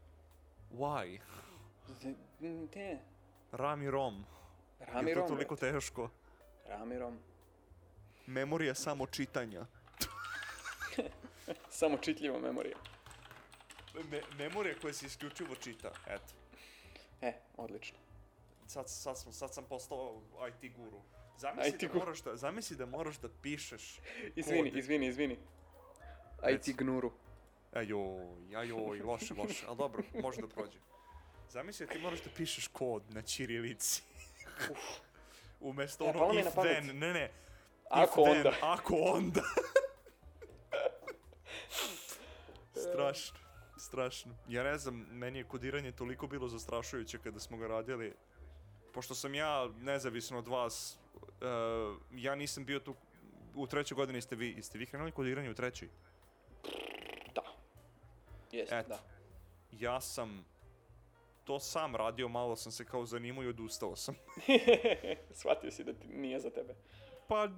Why? Z- m, Te, Ram i rom. je to Ramirom, toliko teško? brate, Ramirom. Memorija samo čitanja. Samo čitljiva memorija. Me memorija koja se isključivo čita, eto. E, odlično. Sad, sad, sam, sad sam postao IT guru. Zamisli, IT da guru. moraš da, zamisli da moraš da pišeš Izvini, kod. izvini, izvini. Reci. IT gnuru. Ajoj, ajoj, loše, loše, ali dobro, može da prođe. Zamisli da ti moraš da pišeš kod na ćirilici. Umesto E, ono palo mi je if na pamet. then, ne ne. Ako if then, onda. Ako [laughs] onda. strašno, strašno. Ja ne znam, meni je kodiranje toliko bilo zastrašujuće kada smo ga radili. Pošto sam ja nezavisno od vas, eh, ja nisam bio tu u trećoj godini ste vi, jeste vi krenuli kodiranje u trećoj? Da. Jeste, Eto. da. ja sam to sam radio, malo sam se kao zanimao i odustao sam. [laughs] [laughs] Shvatio si da ti nije za tebe. Pa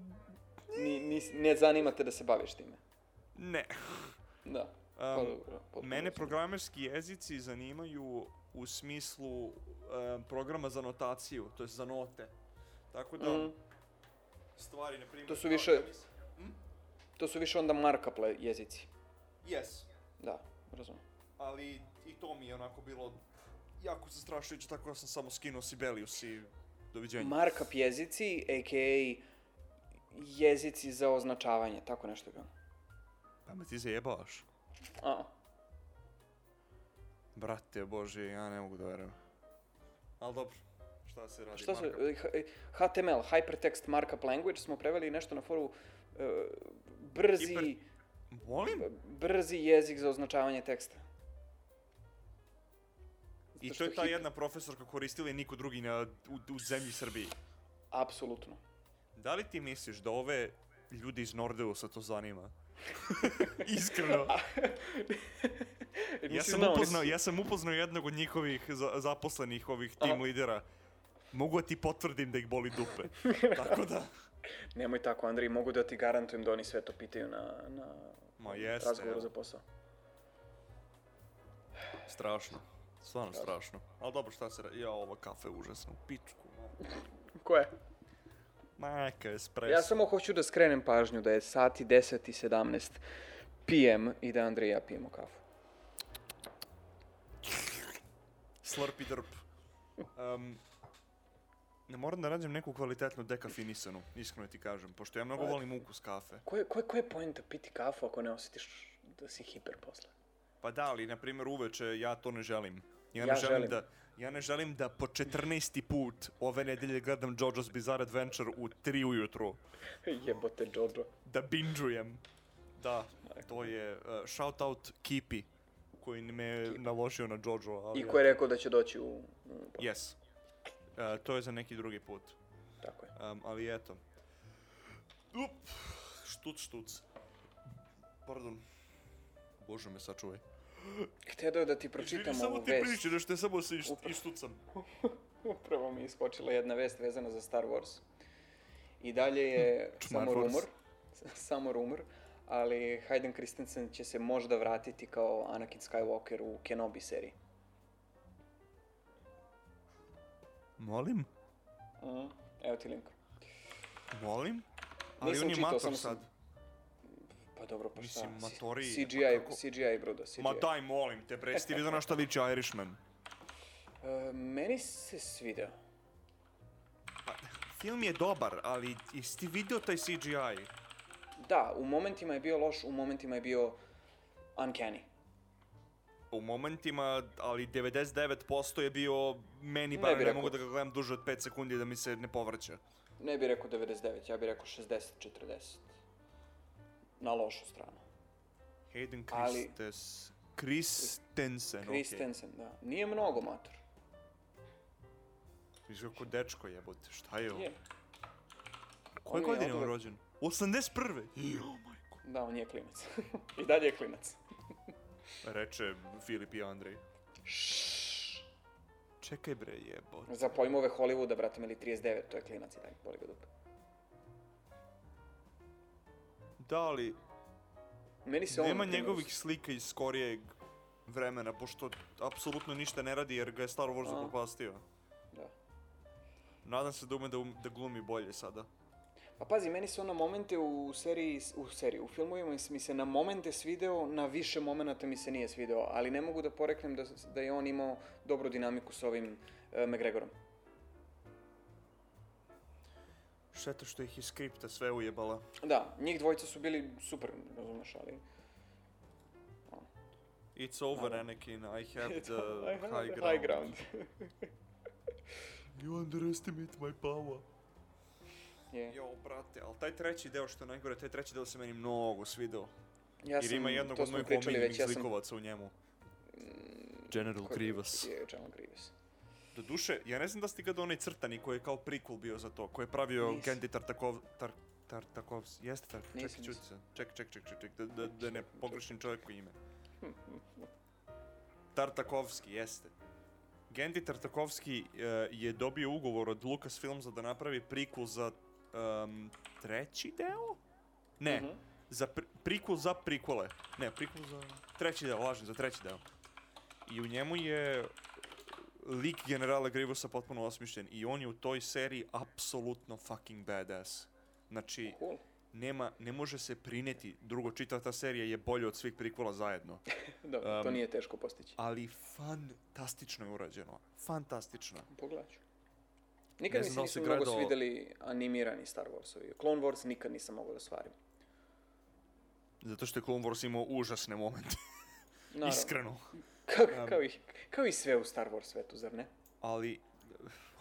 Ni, nis, ne zanima te da se baviš time. ne. Da. pa Um, dobro, potpuno mene razumem. programerski jezici zanimaju u smislu um, programa za notaciju, to je za note. Tako da Mhm. stvari, na primjer... To su kao više- ja mislim- To su više onda markup le- jezici. Yes, Da, razumem. ali i to mi je onako bilo jako zastrašujuće, tako da sam samo skinuo Sibelius i doviđenja. Markup jezici, a.k.a. jezici za označavanje, tako nešto je bilo. Pa me ti zajebavaš. A, Brate bože, ja ne mogu da verujem. Ali dobro, šta se radi? šta su, Znači, markup? e, h- e, HTML, Hypertext Markup Language, smo preveli nešto na foru e, brzi... eh, Hiper- Molim? brzi jezik za označavanje teksta. I Zato to je što ta hip- jedna profesorka koristila i niko drugi na, u, u zemlji Srbiji. Apsolutno. Da li ti misliš da ove ljudi iz Nordeusa to zanima? [laughs] Iskreno. [laughs] e, ja, sam upoznao, ja sam upoznao jednog od njihovih za, zaposlenih, ovih Aha. tim lidera. Mogu da ti potvrdim da ih boli dupe. [laughs] Tako da... Nemoj tako, Andrej, mogu da ti garantujem da oni sve to pitaju na, na Ma jeste, razgovoru evo. za posao. Strašno. Stvarno strašno. Ali dobro, šta se... ra- Ja, ova kafe je užasna u pičku. Ko je? Majka, espresso. Ja samo hoću da skrenem pažnju da je sati 10 i 17 PM i da Andrej i ja pijemo kafu. Slurp i drp. Um, ne moram da nađem neku kvalitetnu dekafinisanu, iskreno ti kažem, pošto ja mnogo Ajde. volim ukus kafe. Koje, koje, koje je pojenta piti kafu ako ne osjetiš da si hiper posle? Pa da, ali na primjer uveče ja to ne želim. Ja ne Ja želim, želim. da ja ne želim da po 14. put ove nedelje gledam JoJo's Bizarre Adventure u 3 ujutru [laughs] Jebote, Jojo. da binžujem. Da, to je uh, shout out Kipi koji me je naložio na JoJo, ali I ko je rekao da će doći u... u yes. Uh, to je za neki drugi put. tako je. Um, ali eto. Up, štuc, štuc. Pardon. Bože me sačuvaj. Htio da ti pročitam Izvini, samo ovu ti vest. priči, nešto je samo se iš, Upravo. ištucam. Upravo mi je iskočila jedna vest vezana za Star Wars. I dalje je [laughs] Čmar samo Hm, Wars. rumor, samo rumor, ali Hayden Christensen će se možda vratiti kao Anakin Skywalker u Kenobi seriji. Molim? Mhm. Evo ti link. Molim? Ali Nisam on je čitao, mator samo sam- sad. Pa dobro, pa šta? Mislim, C- matori, CGI, pa kako- CGI, brudo, CGI. Ma daj, molim te, bre, si ti vidio na šta viče Irishman? E, meni se svideo. Pa, film je dobar, ali jesi ti vidio taj CGI? Da, u momentima je bio loš, u momentima je bio uncanny. U momentima, ali 99% je bio meni, Ne bar bi ne, rekao. mogu da ga gledam duže od 5 sekundi da mi se ne povrće. Ne bih rekao 99, ja bih rekao 60-40. Na lošu stranu. Hayden Ali- Christes... Christensen, okej. Christensen, da. Nije mnogo mator. Viš kako dečko jebote, šta je ovo? Je. Koje On je godine je on oduvek- rođen? 81. Jo, majko. Da, on je klinac. [laughs] I dalje je klinac. Reče Filip i Andrej. Čekaj bre jebote. Za pojmove Hollywooda, brate, mili 39, to je klinac i dalje, boli ga dupe. Da li Meni se on... nema na primjer, njegovih slika iz skorijeg vremena, pošto apsolutno ništa ne radi jer ga je Star Wars A. upropastio. Da. Nadam se da ume da, um- da glumi bolje sada. Pa pazi, meni se on na momente u seriji, u seriji, u filmovima mi se na momente svideo, na više momenata mi se nije svideo, ali ne mogu da poreknem da, da je on imao dobru dinamiku sa ovim e, McGregorom. Šteta što ih je skripta sve ujebala. Da, njih dvojica su bili super, razumeš, ali... It's over Da. Anakin, [laughs] I have the I have uh, high the ground. High ground. You underestimate my power. Je. Jo, brate, ali taj treći deo što je najgore, taj treći deo se meni mnogo svidao. Ja Jer ima jednog to od smo mojih pričali omiljenih već, ja sam- slikovaca u njemu. General Koji- Krivas. Je, General Grievous. Doduše, ja ne znam da ste ga onaj crtani koji je kao prikul bio za to, koji je pravio Nisam. Gandhi Tartakov... Tar, Tartakov... Jeste Tar... Nisam, Čekaj, čuti se. Ček, ček, ček, ček, ček, da, da, da ne pogrešim čovjeku ime. Hm, Tartakovski, jeste. Gandhi Tartakovski eh, je dobio ugovor od Lucasfilmsa da napravi prikul za em, treći deo? Ne, Mhm. za pri- prikul za prikule. Ne, prikul za... Treći deo, lažem, za treći deo. I u njemu je lik generala Grievousa potpuno osmišljen i on je u toj seriji apsolutno fucking badass. Znači, Cool. nema, ne može se prineti, drugo čitava ta serija je bolja od svih prikula zajedno. Dobro, to Um, nije teško postići. Ali fantastično je urađeno, fantastično. Pogledat ću. Nikad Ne mi znam se da li nisu si mnogo gledao- svideli animirani Star Warsovi. Clone Wars nikad nisam mogao da stvarim. Zato što je Clone Wars imao užasne momente, Naravno. iskreno. [laughs] Ka, Um, kao, i, kao i sve u Star Wars svetu, zar ne? ali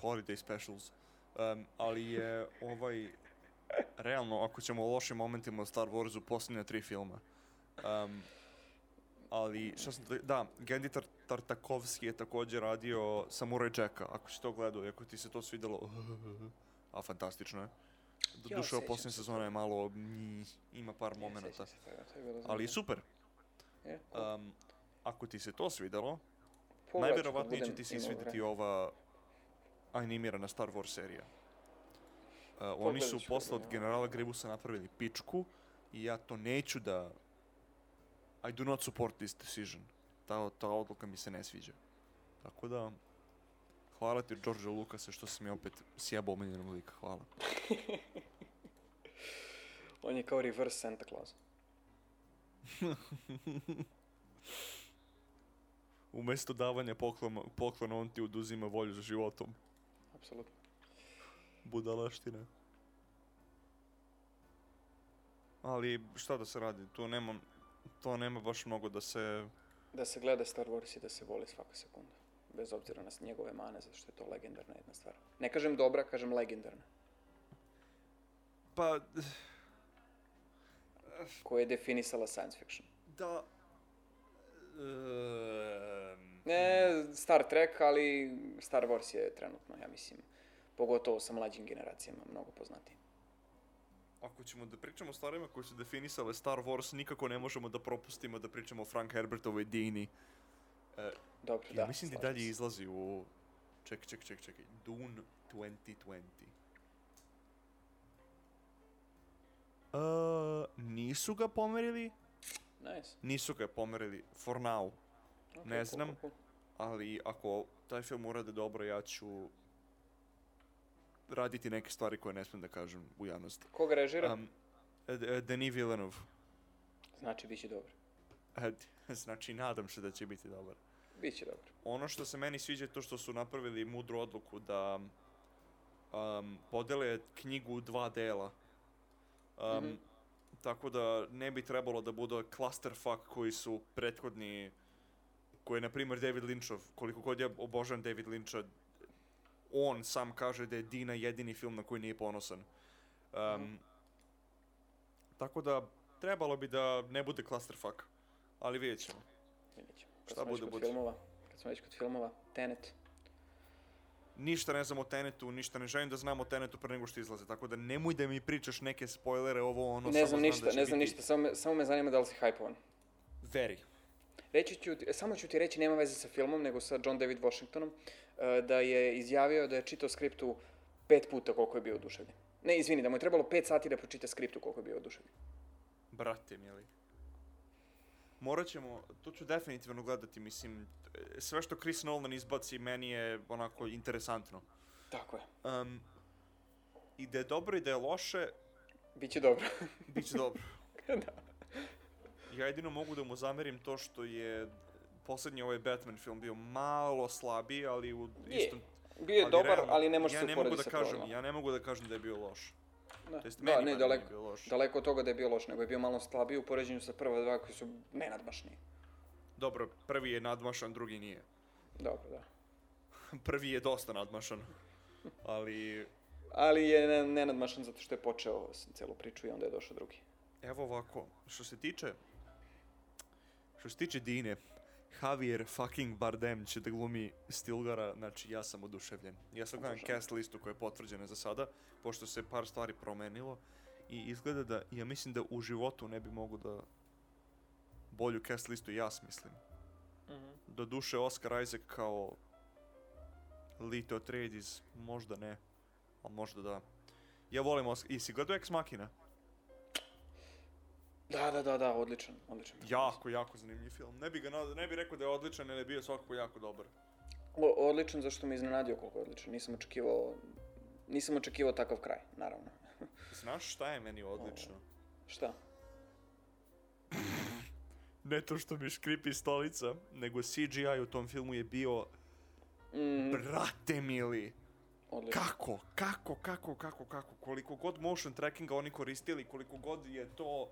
holiday specials. Um, ali je ovaj realno ako ćemo o lošim momentima u Star Warsu posljednja tri filma. Um, ali šta sam te- da, Gandhi Tar- Tartakovski je također radio Samurai Jacka, ako si to gledao i ako ti se to svidelo, a fantastično je. Doduše, sjećam ova posljednja se sezona je malo, nji, ima par momenata, Sjećam se toga, to je bilo ali zanimljivo. super. Je, cool. Um, ako ti se to svidelo, Pogledat ću kad Najverovatnije će budem ti se imao svidjeti vremena. ova animirana Star Wars serija. Uh, oni Pogledat su ću posle od kad budem generala Gribusa napravili pičku i ja to neću da... I do not support this decision. ta, ta odluka mi se ne sviđa. Tako da, hvala ti George Lucase što si mi opet sjebao omiljenog lika, hvala. On je kao reverse Santa Claus. Umesto davanja poklona, poklona on ti oduzima volju za životom. Apsolutno. budalaština. Ali šta da se radi, tu nema, to nema baš mnogo da se... Da se gleda Star Wars i da se voli svaka sekunda. Bez obzira na s- njegove mane, zato što je to legendarna jedna stvar. Ne kažem dobra, kažem legendarna. Pa, Koja je definisala science fiction. da... Ehm, Ne Star Trek, ali Star Wars je trenutno, ja mislim, pogotovo sa mlađim generacijama, mnogo poznatiji. Ako ćemo da pričamo o stvarima koje su definisale Star Wars, nikako ne možemo da propustimo da pričamo o Frank Herbertovoj Dini. Dobro, Ja da. mislim da i slažem dalje se. izlazi u... Ček, ček, ček, ček. Dune 2020. Uh, nisu ga pomerili, Nice. nisu ga pomerili, for now, Ok, Ne cool, znam. cool, cool. ali ako taj film urade dobro, ja ću raditi neke stvari koje ne smijem da kažem u javnosti. Koga režira? Um, D- Denis Villeneuve, [laughs] Znači, bit će dobro. E, znači nadam se da će biti dobar. Bit će dobro. Ono što se meni sviđa je to što su napravili mudru odluku da um, podele knjigu u dva dela. Um, Mhm. Tako da ne bi trebalo da bude clusterfuck koji su prethodni, koji je na primjer David Lynchov, koliko god ja obožavam David Lyncha, on sam kaže da je Dina jedini film na koji nije ponosan. Um, Mhm. Tako da trebalo bi da ne bude clusterfuck, ali vidjet ćemo. Vidjet ćemo. Kad Šta smo već bude, kod bude. filmova, kad smo već kod filmova, Tenet. ništa ne znam o Tenetu, ništa ne želim da znam o Tenetu pre nego što izlaze, tako da nemoj da mi pričaš neke spoilere, ovo ono, ne samo znam da ništa, će ne znam biti ništa, samo me, samo me zanima da li si hajpovan. Very. Reći ću, ti- samo ću ti reći, nema veze sa filmom, nego sa John David Washingtonom, e, da je izjavio da je čitao skriptu pet puta koliko je bio oduševljen. Ne, izvini, da mu je trebalo pet sati da pročita skriptu koliko je bio oduševljen. Brate, mili. Morat ćemo, to ću definitivno gledati, mislim, e, sve što Chris Nolan izbaci meni je onako interesantno. Tako je. Um, I da je dobro i da je loše, Biće dobro. bit će dobro. da. Ja jedino mogu da mu zamerim to što je poslednji ovaj Batman film bio malo slabiji, ali u Je. istom [laughs] Bio je Ali dobar, realno, ali ne može ja se ne mogu uporediti da sa kažem, prvom. ja ne mogu da kažem da je bio loš. Da, To jest da meni ne, bar daleko, nije bio loš. daleko od toga da je bio loš, nego je bio malo slabiji u poređenju sa prva dva koji su nenadmašniji. Dobro, prvi je nadmašan, drugi nije. [laughs] Dobro, da. prvi je dosta nadmašan. Ali Ali je ne- nenadmašan zato što je počeo s- celu priču i onda je došao drugi. evo ovako, što se tiče što se tiče Dine, Javier fucking Bardem će da glumi Stilgara, znači ja sam oduševljen. Ja sad gledam Oduševljen. cast listu koja je potvrđena za sada, pošto se par stvari promenilo i izgleda da, ja mislim da u životu ne bi mogu da bolju cast listu ja smislim. Mhm. Doduše Oscar Isaac kao Lito Atreides, možda ne, a možda da. Ja volim Oscar, i si gledao Ex Machina? Da, da, da, da, odličan, odličan. Jako, jako zanimljiv film. Ne bi, ga, na- ne bi rekao da je odličan, ali je bio svakako jako dobar. O, odličan zašto me iznenadio koliko je odličan. Nisam očekivao, nisam očekivao takav kraj, naravno. Znaš šta je meni odlično? Šta? Ne to što mi škripi stolica, nego CGI u tom filmu je bio, Mm, brate mili, odličan. kako, kako, kako, kako, kako, koliko god motion trackinga oni koristili, koliko god je to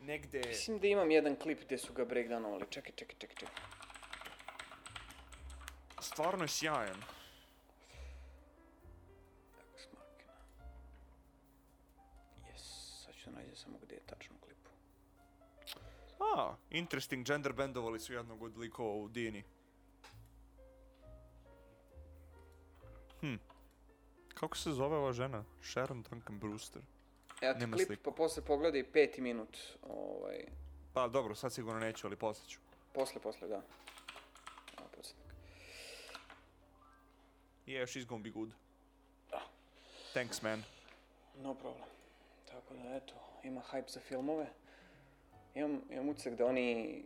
negde... Mislim da imam jedan klip gde su ga breakdownovali. Čekaj, čekaj, čekaj, čekaj. Stvarno je sjajan. Ex Machina. Yes, sad ću da nađem samo gde je tačno u klipu. A, interesting, gender bendovali su jednog od likova u Dini. Hm. Kako se zove ova žena? Sharon Duncan Brewster. Evo ti Nema klip, sliku. pa posle pogledaj peti minut. Ovaj, Pa dobro, sad sigurno neću, ali posle ću. posle, posle, da. Evo, podsjetnik. Yeah, she's gonna be good. Da. Thanks, man. [laughs] No problem. Tako da, eto, ima hype za filmove. Imam, imam utisak da oni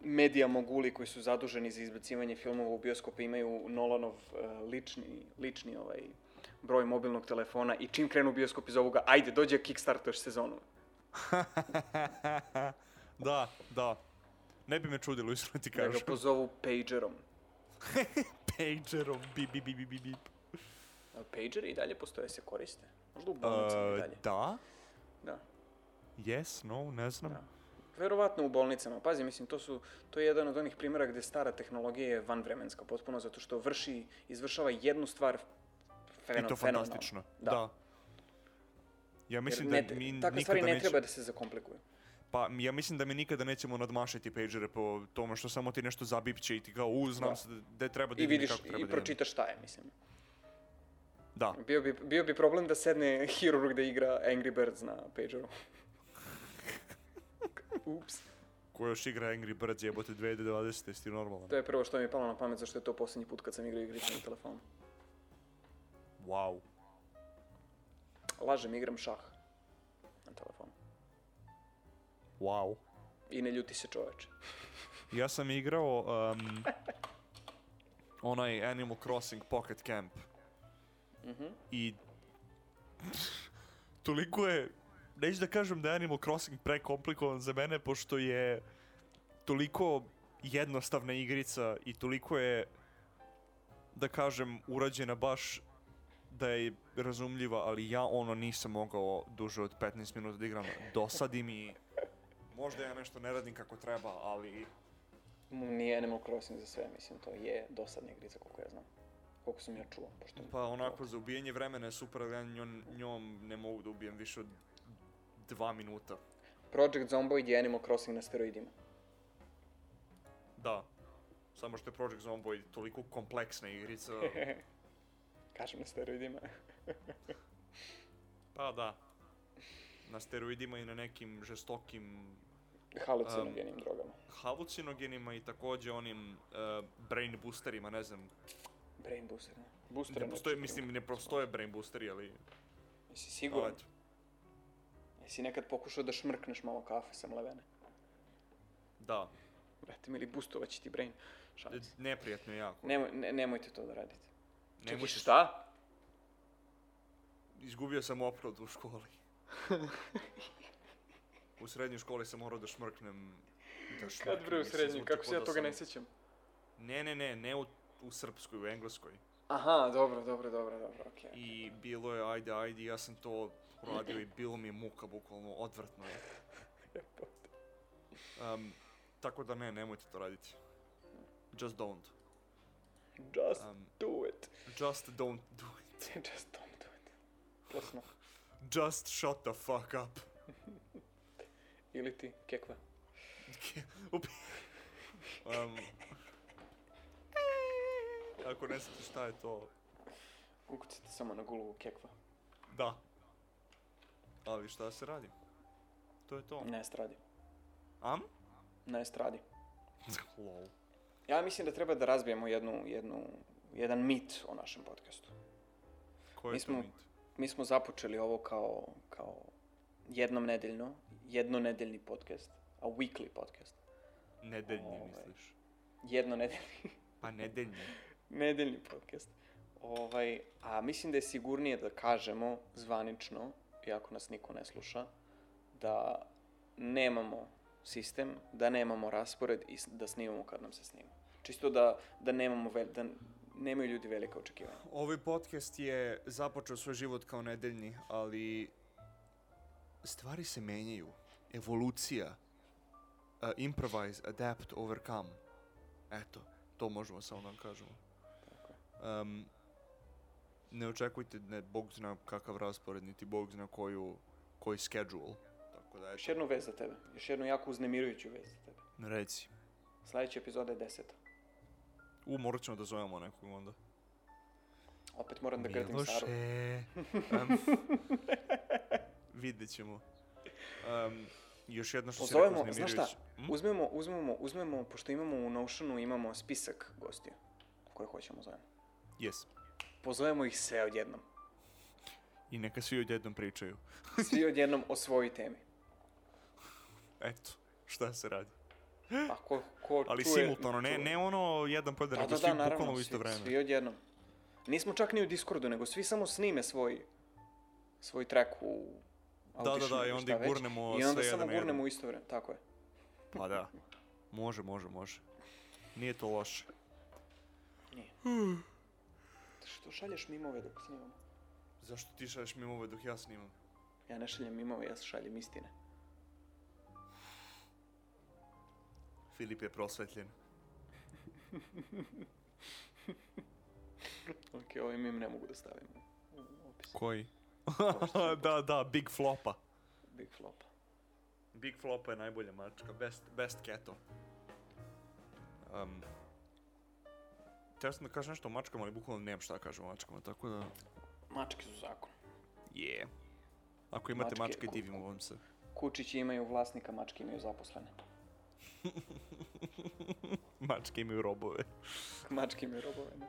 medija moguli koji su zaduženi za izbacivanje filmova u bioskope imaju Nolanov uh, lični, lični ovaj broj mobilnog telefona i čim krenu bioskop iz ovoga, ajde, dođe Kickstarter sezonu. da, da. Ne bi me čudilo, iskreno ti Da ga kažem. pozovu pagerom. [laughs] Pagerom, bip, bip, bip, bip, bip, bip. Ali pageri E, i dalje postoje, se koriste. Možda u bolnicama i Uh, dalje. da, Da. yes, no, ne znam. Da. Verovatno u bolnicama. Pazi, mislim, to, su, to je jedan od onih primjera gde stara tehnologija je vanvremenska potpuno, zato što vrši, izvršava jednu stvar fenomenalno. I to fantastično. Da. Da. Ja Jer mislim ne, da mi takve nikada stvari ne neće- treba da se zakomplikuju. Pa ja mislim da mi nikada nećemo nadmašiti pagere po tome što samo ti nešto zabipće i ti kao u, znam Da. se da- da treba da I idem vidiš kako treba da i idem. pročitaš šta je, mislim. Da. Bio bi, bio bi problem da sedne hirurg da igra Angry Birds na [laughs] pageru. Ups. Ko još igra Angry Birds jebote 2020, jesi ti normalan? To je prvo što mi je palo na pamet, zašto je to posljednji put kad sam igrao igrice na telefonu. Wow. Lažem, igram šah na telefonu. Wow. I ne ljuti se čoveče. Ja sam igrao um, onaj Animal Crossing Pocket Camp Mhm. i [laughs] toliko je, neću da kažem da je Animal Crossing prekomplikovan za mene pošto je toliko jednostavna igrica i toliko je, da kažem, urađena baš da je razumljiva, ali ja ono nisam mogao duže od 15 minuta da igram. Dosadi mi, možda ja nešto ne radim kako treba, ali Mu Nije Animal Crossing za sve, mislim, to je dosadna igrica koliko ja znam. Koliko sam ja čuo, pošto... Pa onako, za ubijanje vremena je super, ali ja njom, njom ne mogu da ubijem više od dva minuta. Project Zomboid je Animal Crossing na steroidima. Da. Samo što je Project Zomboid toliko kompleksna [laughs] igrica. Kažem na steroidima. Pa da. Na steroidima i na nekim žestokim Um, Halucinogenim drogama. halucinogenima i takođe onim eh, brain boosterima, ne znam. Brain booster, ne? Booster Ne postoje, mislim, ne postoje brain boosteri, ali... Jesi siguran? eto. Jesi nekad pokušao da šmrkneš malo kafe sa mlevene? Da. Brate, ili boostovat će ti brain. Šalim E, se. Neprijatno je jako. Nemoj, ne, nemojte to da radite. Nemoj Čekaj, se- šta? Izgubio sam oprod u [laughs] školi. U srednjoj školi sam morao da šmrknem. Da šmrknem, Kad bre u mislim, srednjoj, zvuči kako kao se ja da toga sam- ne sjećam? Ne, ne, ne, ne u, u srpskoj, u engleskoj. Aha, dobro, dobro, dobro, dobro, okej. I bilo je, ajde, ajde, ja sam to uradio i bilo mi je muka, bukvalno, odvrtno je. Um, tako da ne, nemojte to raditi. Just don't. Just Um, do it. just don't do it. [laughs] Just don't do it. Plasno. Just shut the fuck up. Ili ti, kekva. Up. um, ako ne znate šta je to, Ukucite samo na gulu kekva. da. Ali šta se radi? To je to. Na estradi. Am? [laughs] Na estradi. Lol. Ja mislim da treba da razbijemo jednu, jednu, jedan mit o našem podcastu. Ko Mi je to smo- mit? Mi smo započeli ovo kao, kao jednom nedeljno, jednonedeljni podcast, a weekly podcast. Nedeljni Ovaj. misliš? Jednonedeljni, Pa nedeljni. nedeljni podcast. Ovaj, a mislim da je sigurnije da kažemo zvanično, iako nas niko ne sluša, da nemamo sistem, da nemamo raspored i s- da snimamo kad nam se snima. Čisto da, da nemamo vel, da nemaju ljudi velika očekivanja. Ovaj podcast je započeo svoj život kao nedeljni, ali stvari se menjaju. Evolucija. Uh, improvise, adapt, overcome. Eto, to možemo samo da vam kažemo. Tako je. Um, ne očekujte, ne, Bog zna kakav raspored, niti Bog zna koju, koji schedule. Tako da, Još eto, jednu vez za tebe, još jednu jako uznemirujuću vez za tebe. reci. Sljedeća epizoda je deseta. U, morat ćemo da zovemo nekog onda. Opet moram da grdim Saru. Um, [laughs] vidjet ćemo. Um, još jedno što Pozovemo- si rekao, znaš šta? uznemirujuće. Hm? Uzmemo, uzmemo, uzmemo, pošto imamo u Notionu, imamo spisak gostiju koje hoćemo zovemo. Yes. Pozovemo ih sve odjednom. I neka svi odjednom pričaju. Svi odjednom o svojoj temi. Eto, šta se radi. Pa ko, ko Ali čuje- simultano, ne, čuje- ne ono jedan po jedan, Da, nego Pa da, svi da, naravno, bukvalno u svi, isto vreme. svi odjednom. Nismo čak ni u Discordu, nego svi samo snime svoj, svoj track u da, Audition da, i ili onda šta ih već. gurnemo I onda sve samo jedan na jedan. gurnemo u isto vreme, tako je. Pa da. Može, može, može. Nije to loše. Što šalješ mimove dok snimamo? Zašto ti šalješ mi ove dok ja snimam? Ja ne šaljem mimove, ja šaljem istine. Filip je prosvetljen. Ok, ovaj mim ne mogu da stavim u u opis. Koji? Ovo što sam [laughs] da, da, Big Flopa. Big flop. Big Flopa je najbolja mačka, best, best keto. Um, Teo sam da kažem nešto o mačkama, ali bukvalno nemam šta da kažem o mačkama, tako da... Mačke su zakon. Yeah. Ako imate Mačke- mačke, ku- divimo vam se. [laughs] Kučići imaju vlasnika, mačke imaju zaposlene. [laughs] Mačke imaju robove. Mačke imaju robove, ne?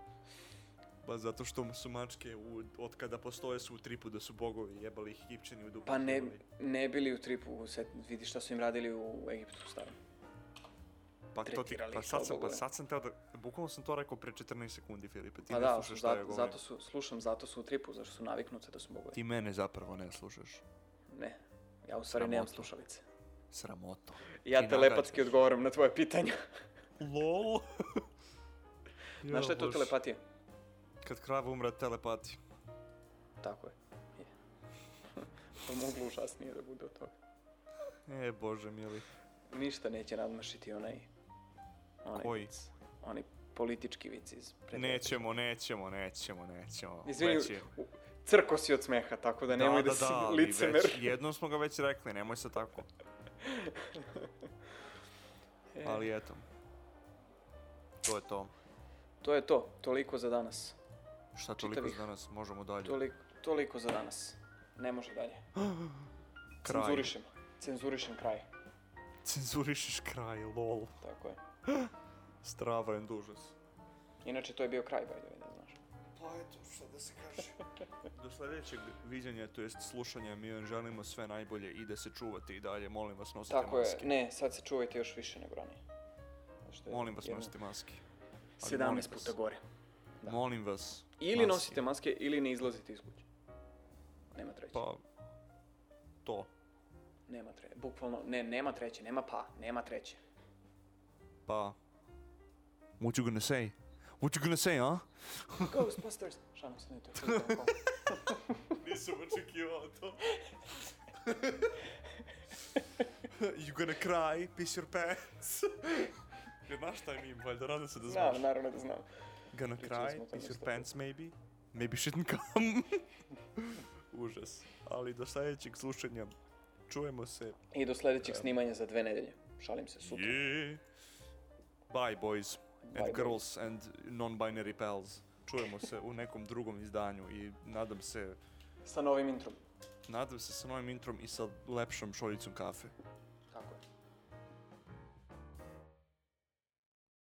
Ba zato što su mačke, u, od kada postoje su u tripu da su bogovi, jebali ih Egipćani u dupu. Pa ne, jebali. ne bili u tripu, sad vidi šta su im radili u Egiptu starom. Pa, to ti, tretirali pa ih sad kao sam, pa bogove. sad sam teo da, bukvalno sam to rekao pre 14 sekundi, Filipe, ti ne Pa da, slušaš šta ja zato, govorim. zato su, slušam, zato su u tripu, zašto su naviknute da su bogovi. Ti mene zapravo ne slušaš. Ne, ja u stvari Sramota. nemam slušalice. Sramoto. Ja Ti telepatski nagađaš. odgovaram na tvoje pitanja. [laughs] LOL! Znaš šta je to Bože. telepatija? Kad krava umre, telepati. Tako je. Je. [laughs] Pa mogu užasnije da bude od toga. E, bože mili. Ništa neće nadmašiti onaj... onaj Koji? vic. Onaj politički vic iz... pre- Nećemo, nećemo, nećemo, nećemo. Izvini, Već je- u- crko si od smeha, tako da nemoj da, si ali [laughs] licemer. Već, jednom smo ga već rekli, nemoj se tako. E, Ali eto. To je to. To je to, toliko za danas. Šta toliko Čitavih. za danas, možemo dalje. Toliko, toliko za danas. Ne može dalje. Kraj. Cenzurišem. Cenzurišem kraj. [laughs] Cenzurišeš kraj, lol. Tako je. Strava and užas. Inače, to je bio kraj, by the way, da znaš. Pa eto, šta da se kaže. [laughs] Do sledećeg viđanja, to jest slušanja, mi vam želimo sve najbolje i da se čuvate i dalje. Molim vas, nosite Tako je, maske. ne, sad se čuvajte još više nego ranije. Zato što je Molim vas, jedno- nosite maske. Ali 17 molim vas. puta gore. Da. Molim vas. Ili maske. nosite maske, ili ne izlazite iz kuće. Nema treće. Pa, to. Nema treće. Bukvalno, ne, nema treće, nema pa, nema [laughs] treće. Pa. What you gonna say? What you gonna say, a? Ghostbusters! Šalim se, ne, to je to. Nisam očekivao to. [laughs] you gonna cry, piss your [laughs] pants. Jer znaš taj mim, valjda nadam se da znaš. Znam, naravno da znam. Gonna Pričali cry, smo o tome piss your sto pants maybe. Maybe shouldn't [laughs] come. Užas. Ali do sledećeg slušanja čujemo se. I do sledećeg snimanja za dve nedelje. Šalim se, super. Yeah. Bye boys and Bye, boys. girls and non-binary pals. Čujemo se u nekom drugom izdanju i nadam se Sa novim introm. Nadam se sa novim introm i sa lepšom šoljicom kafe.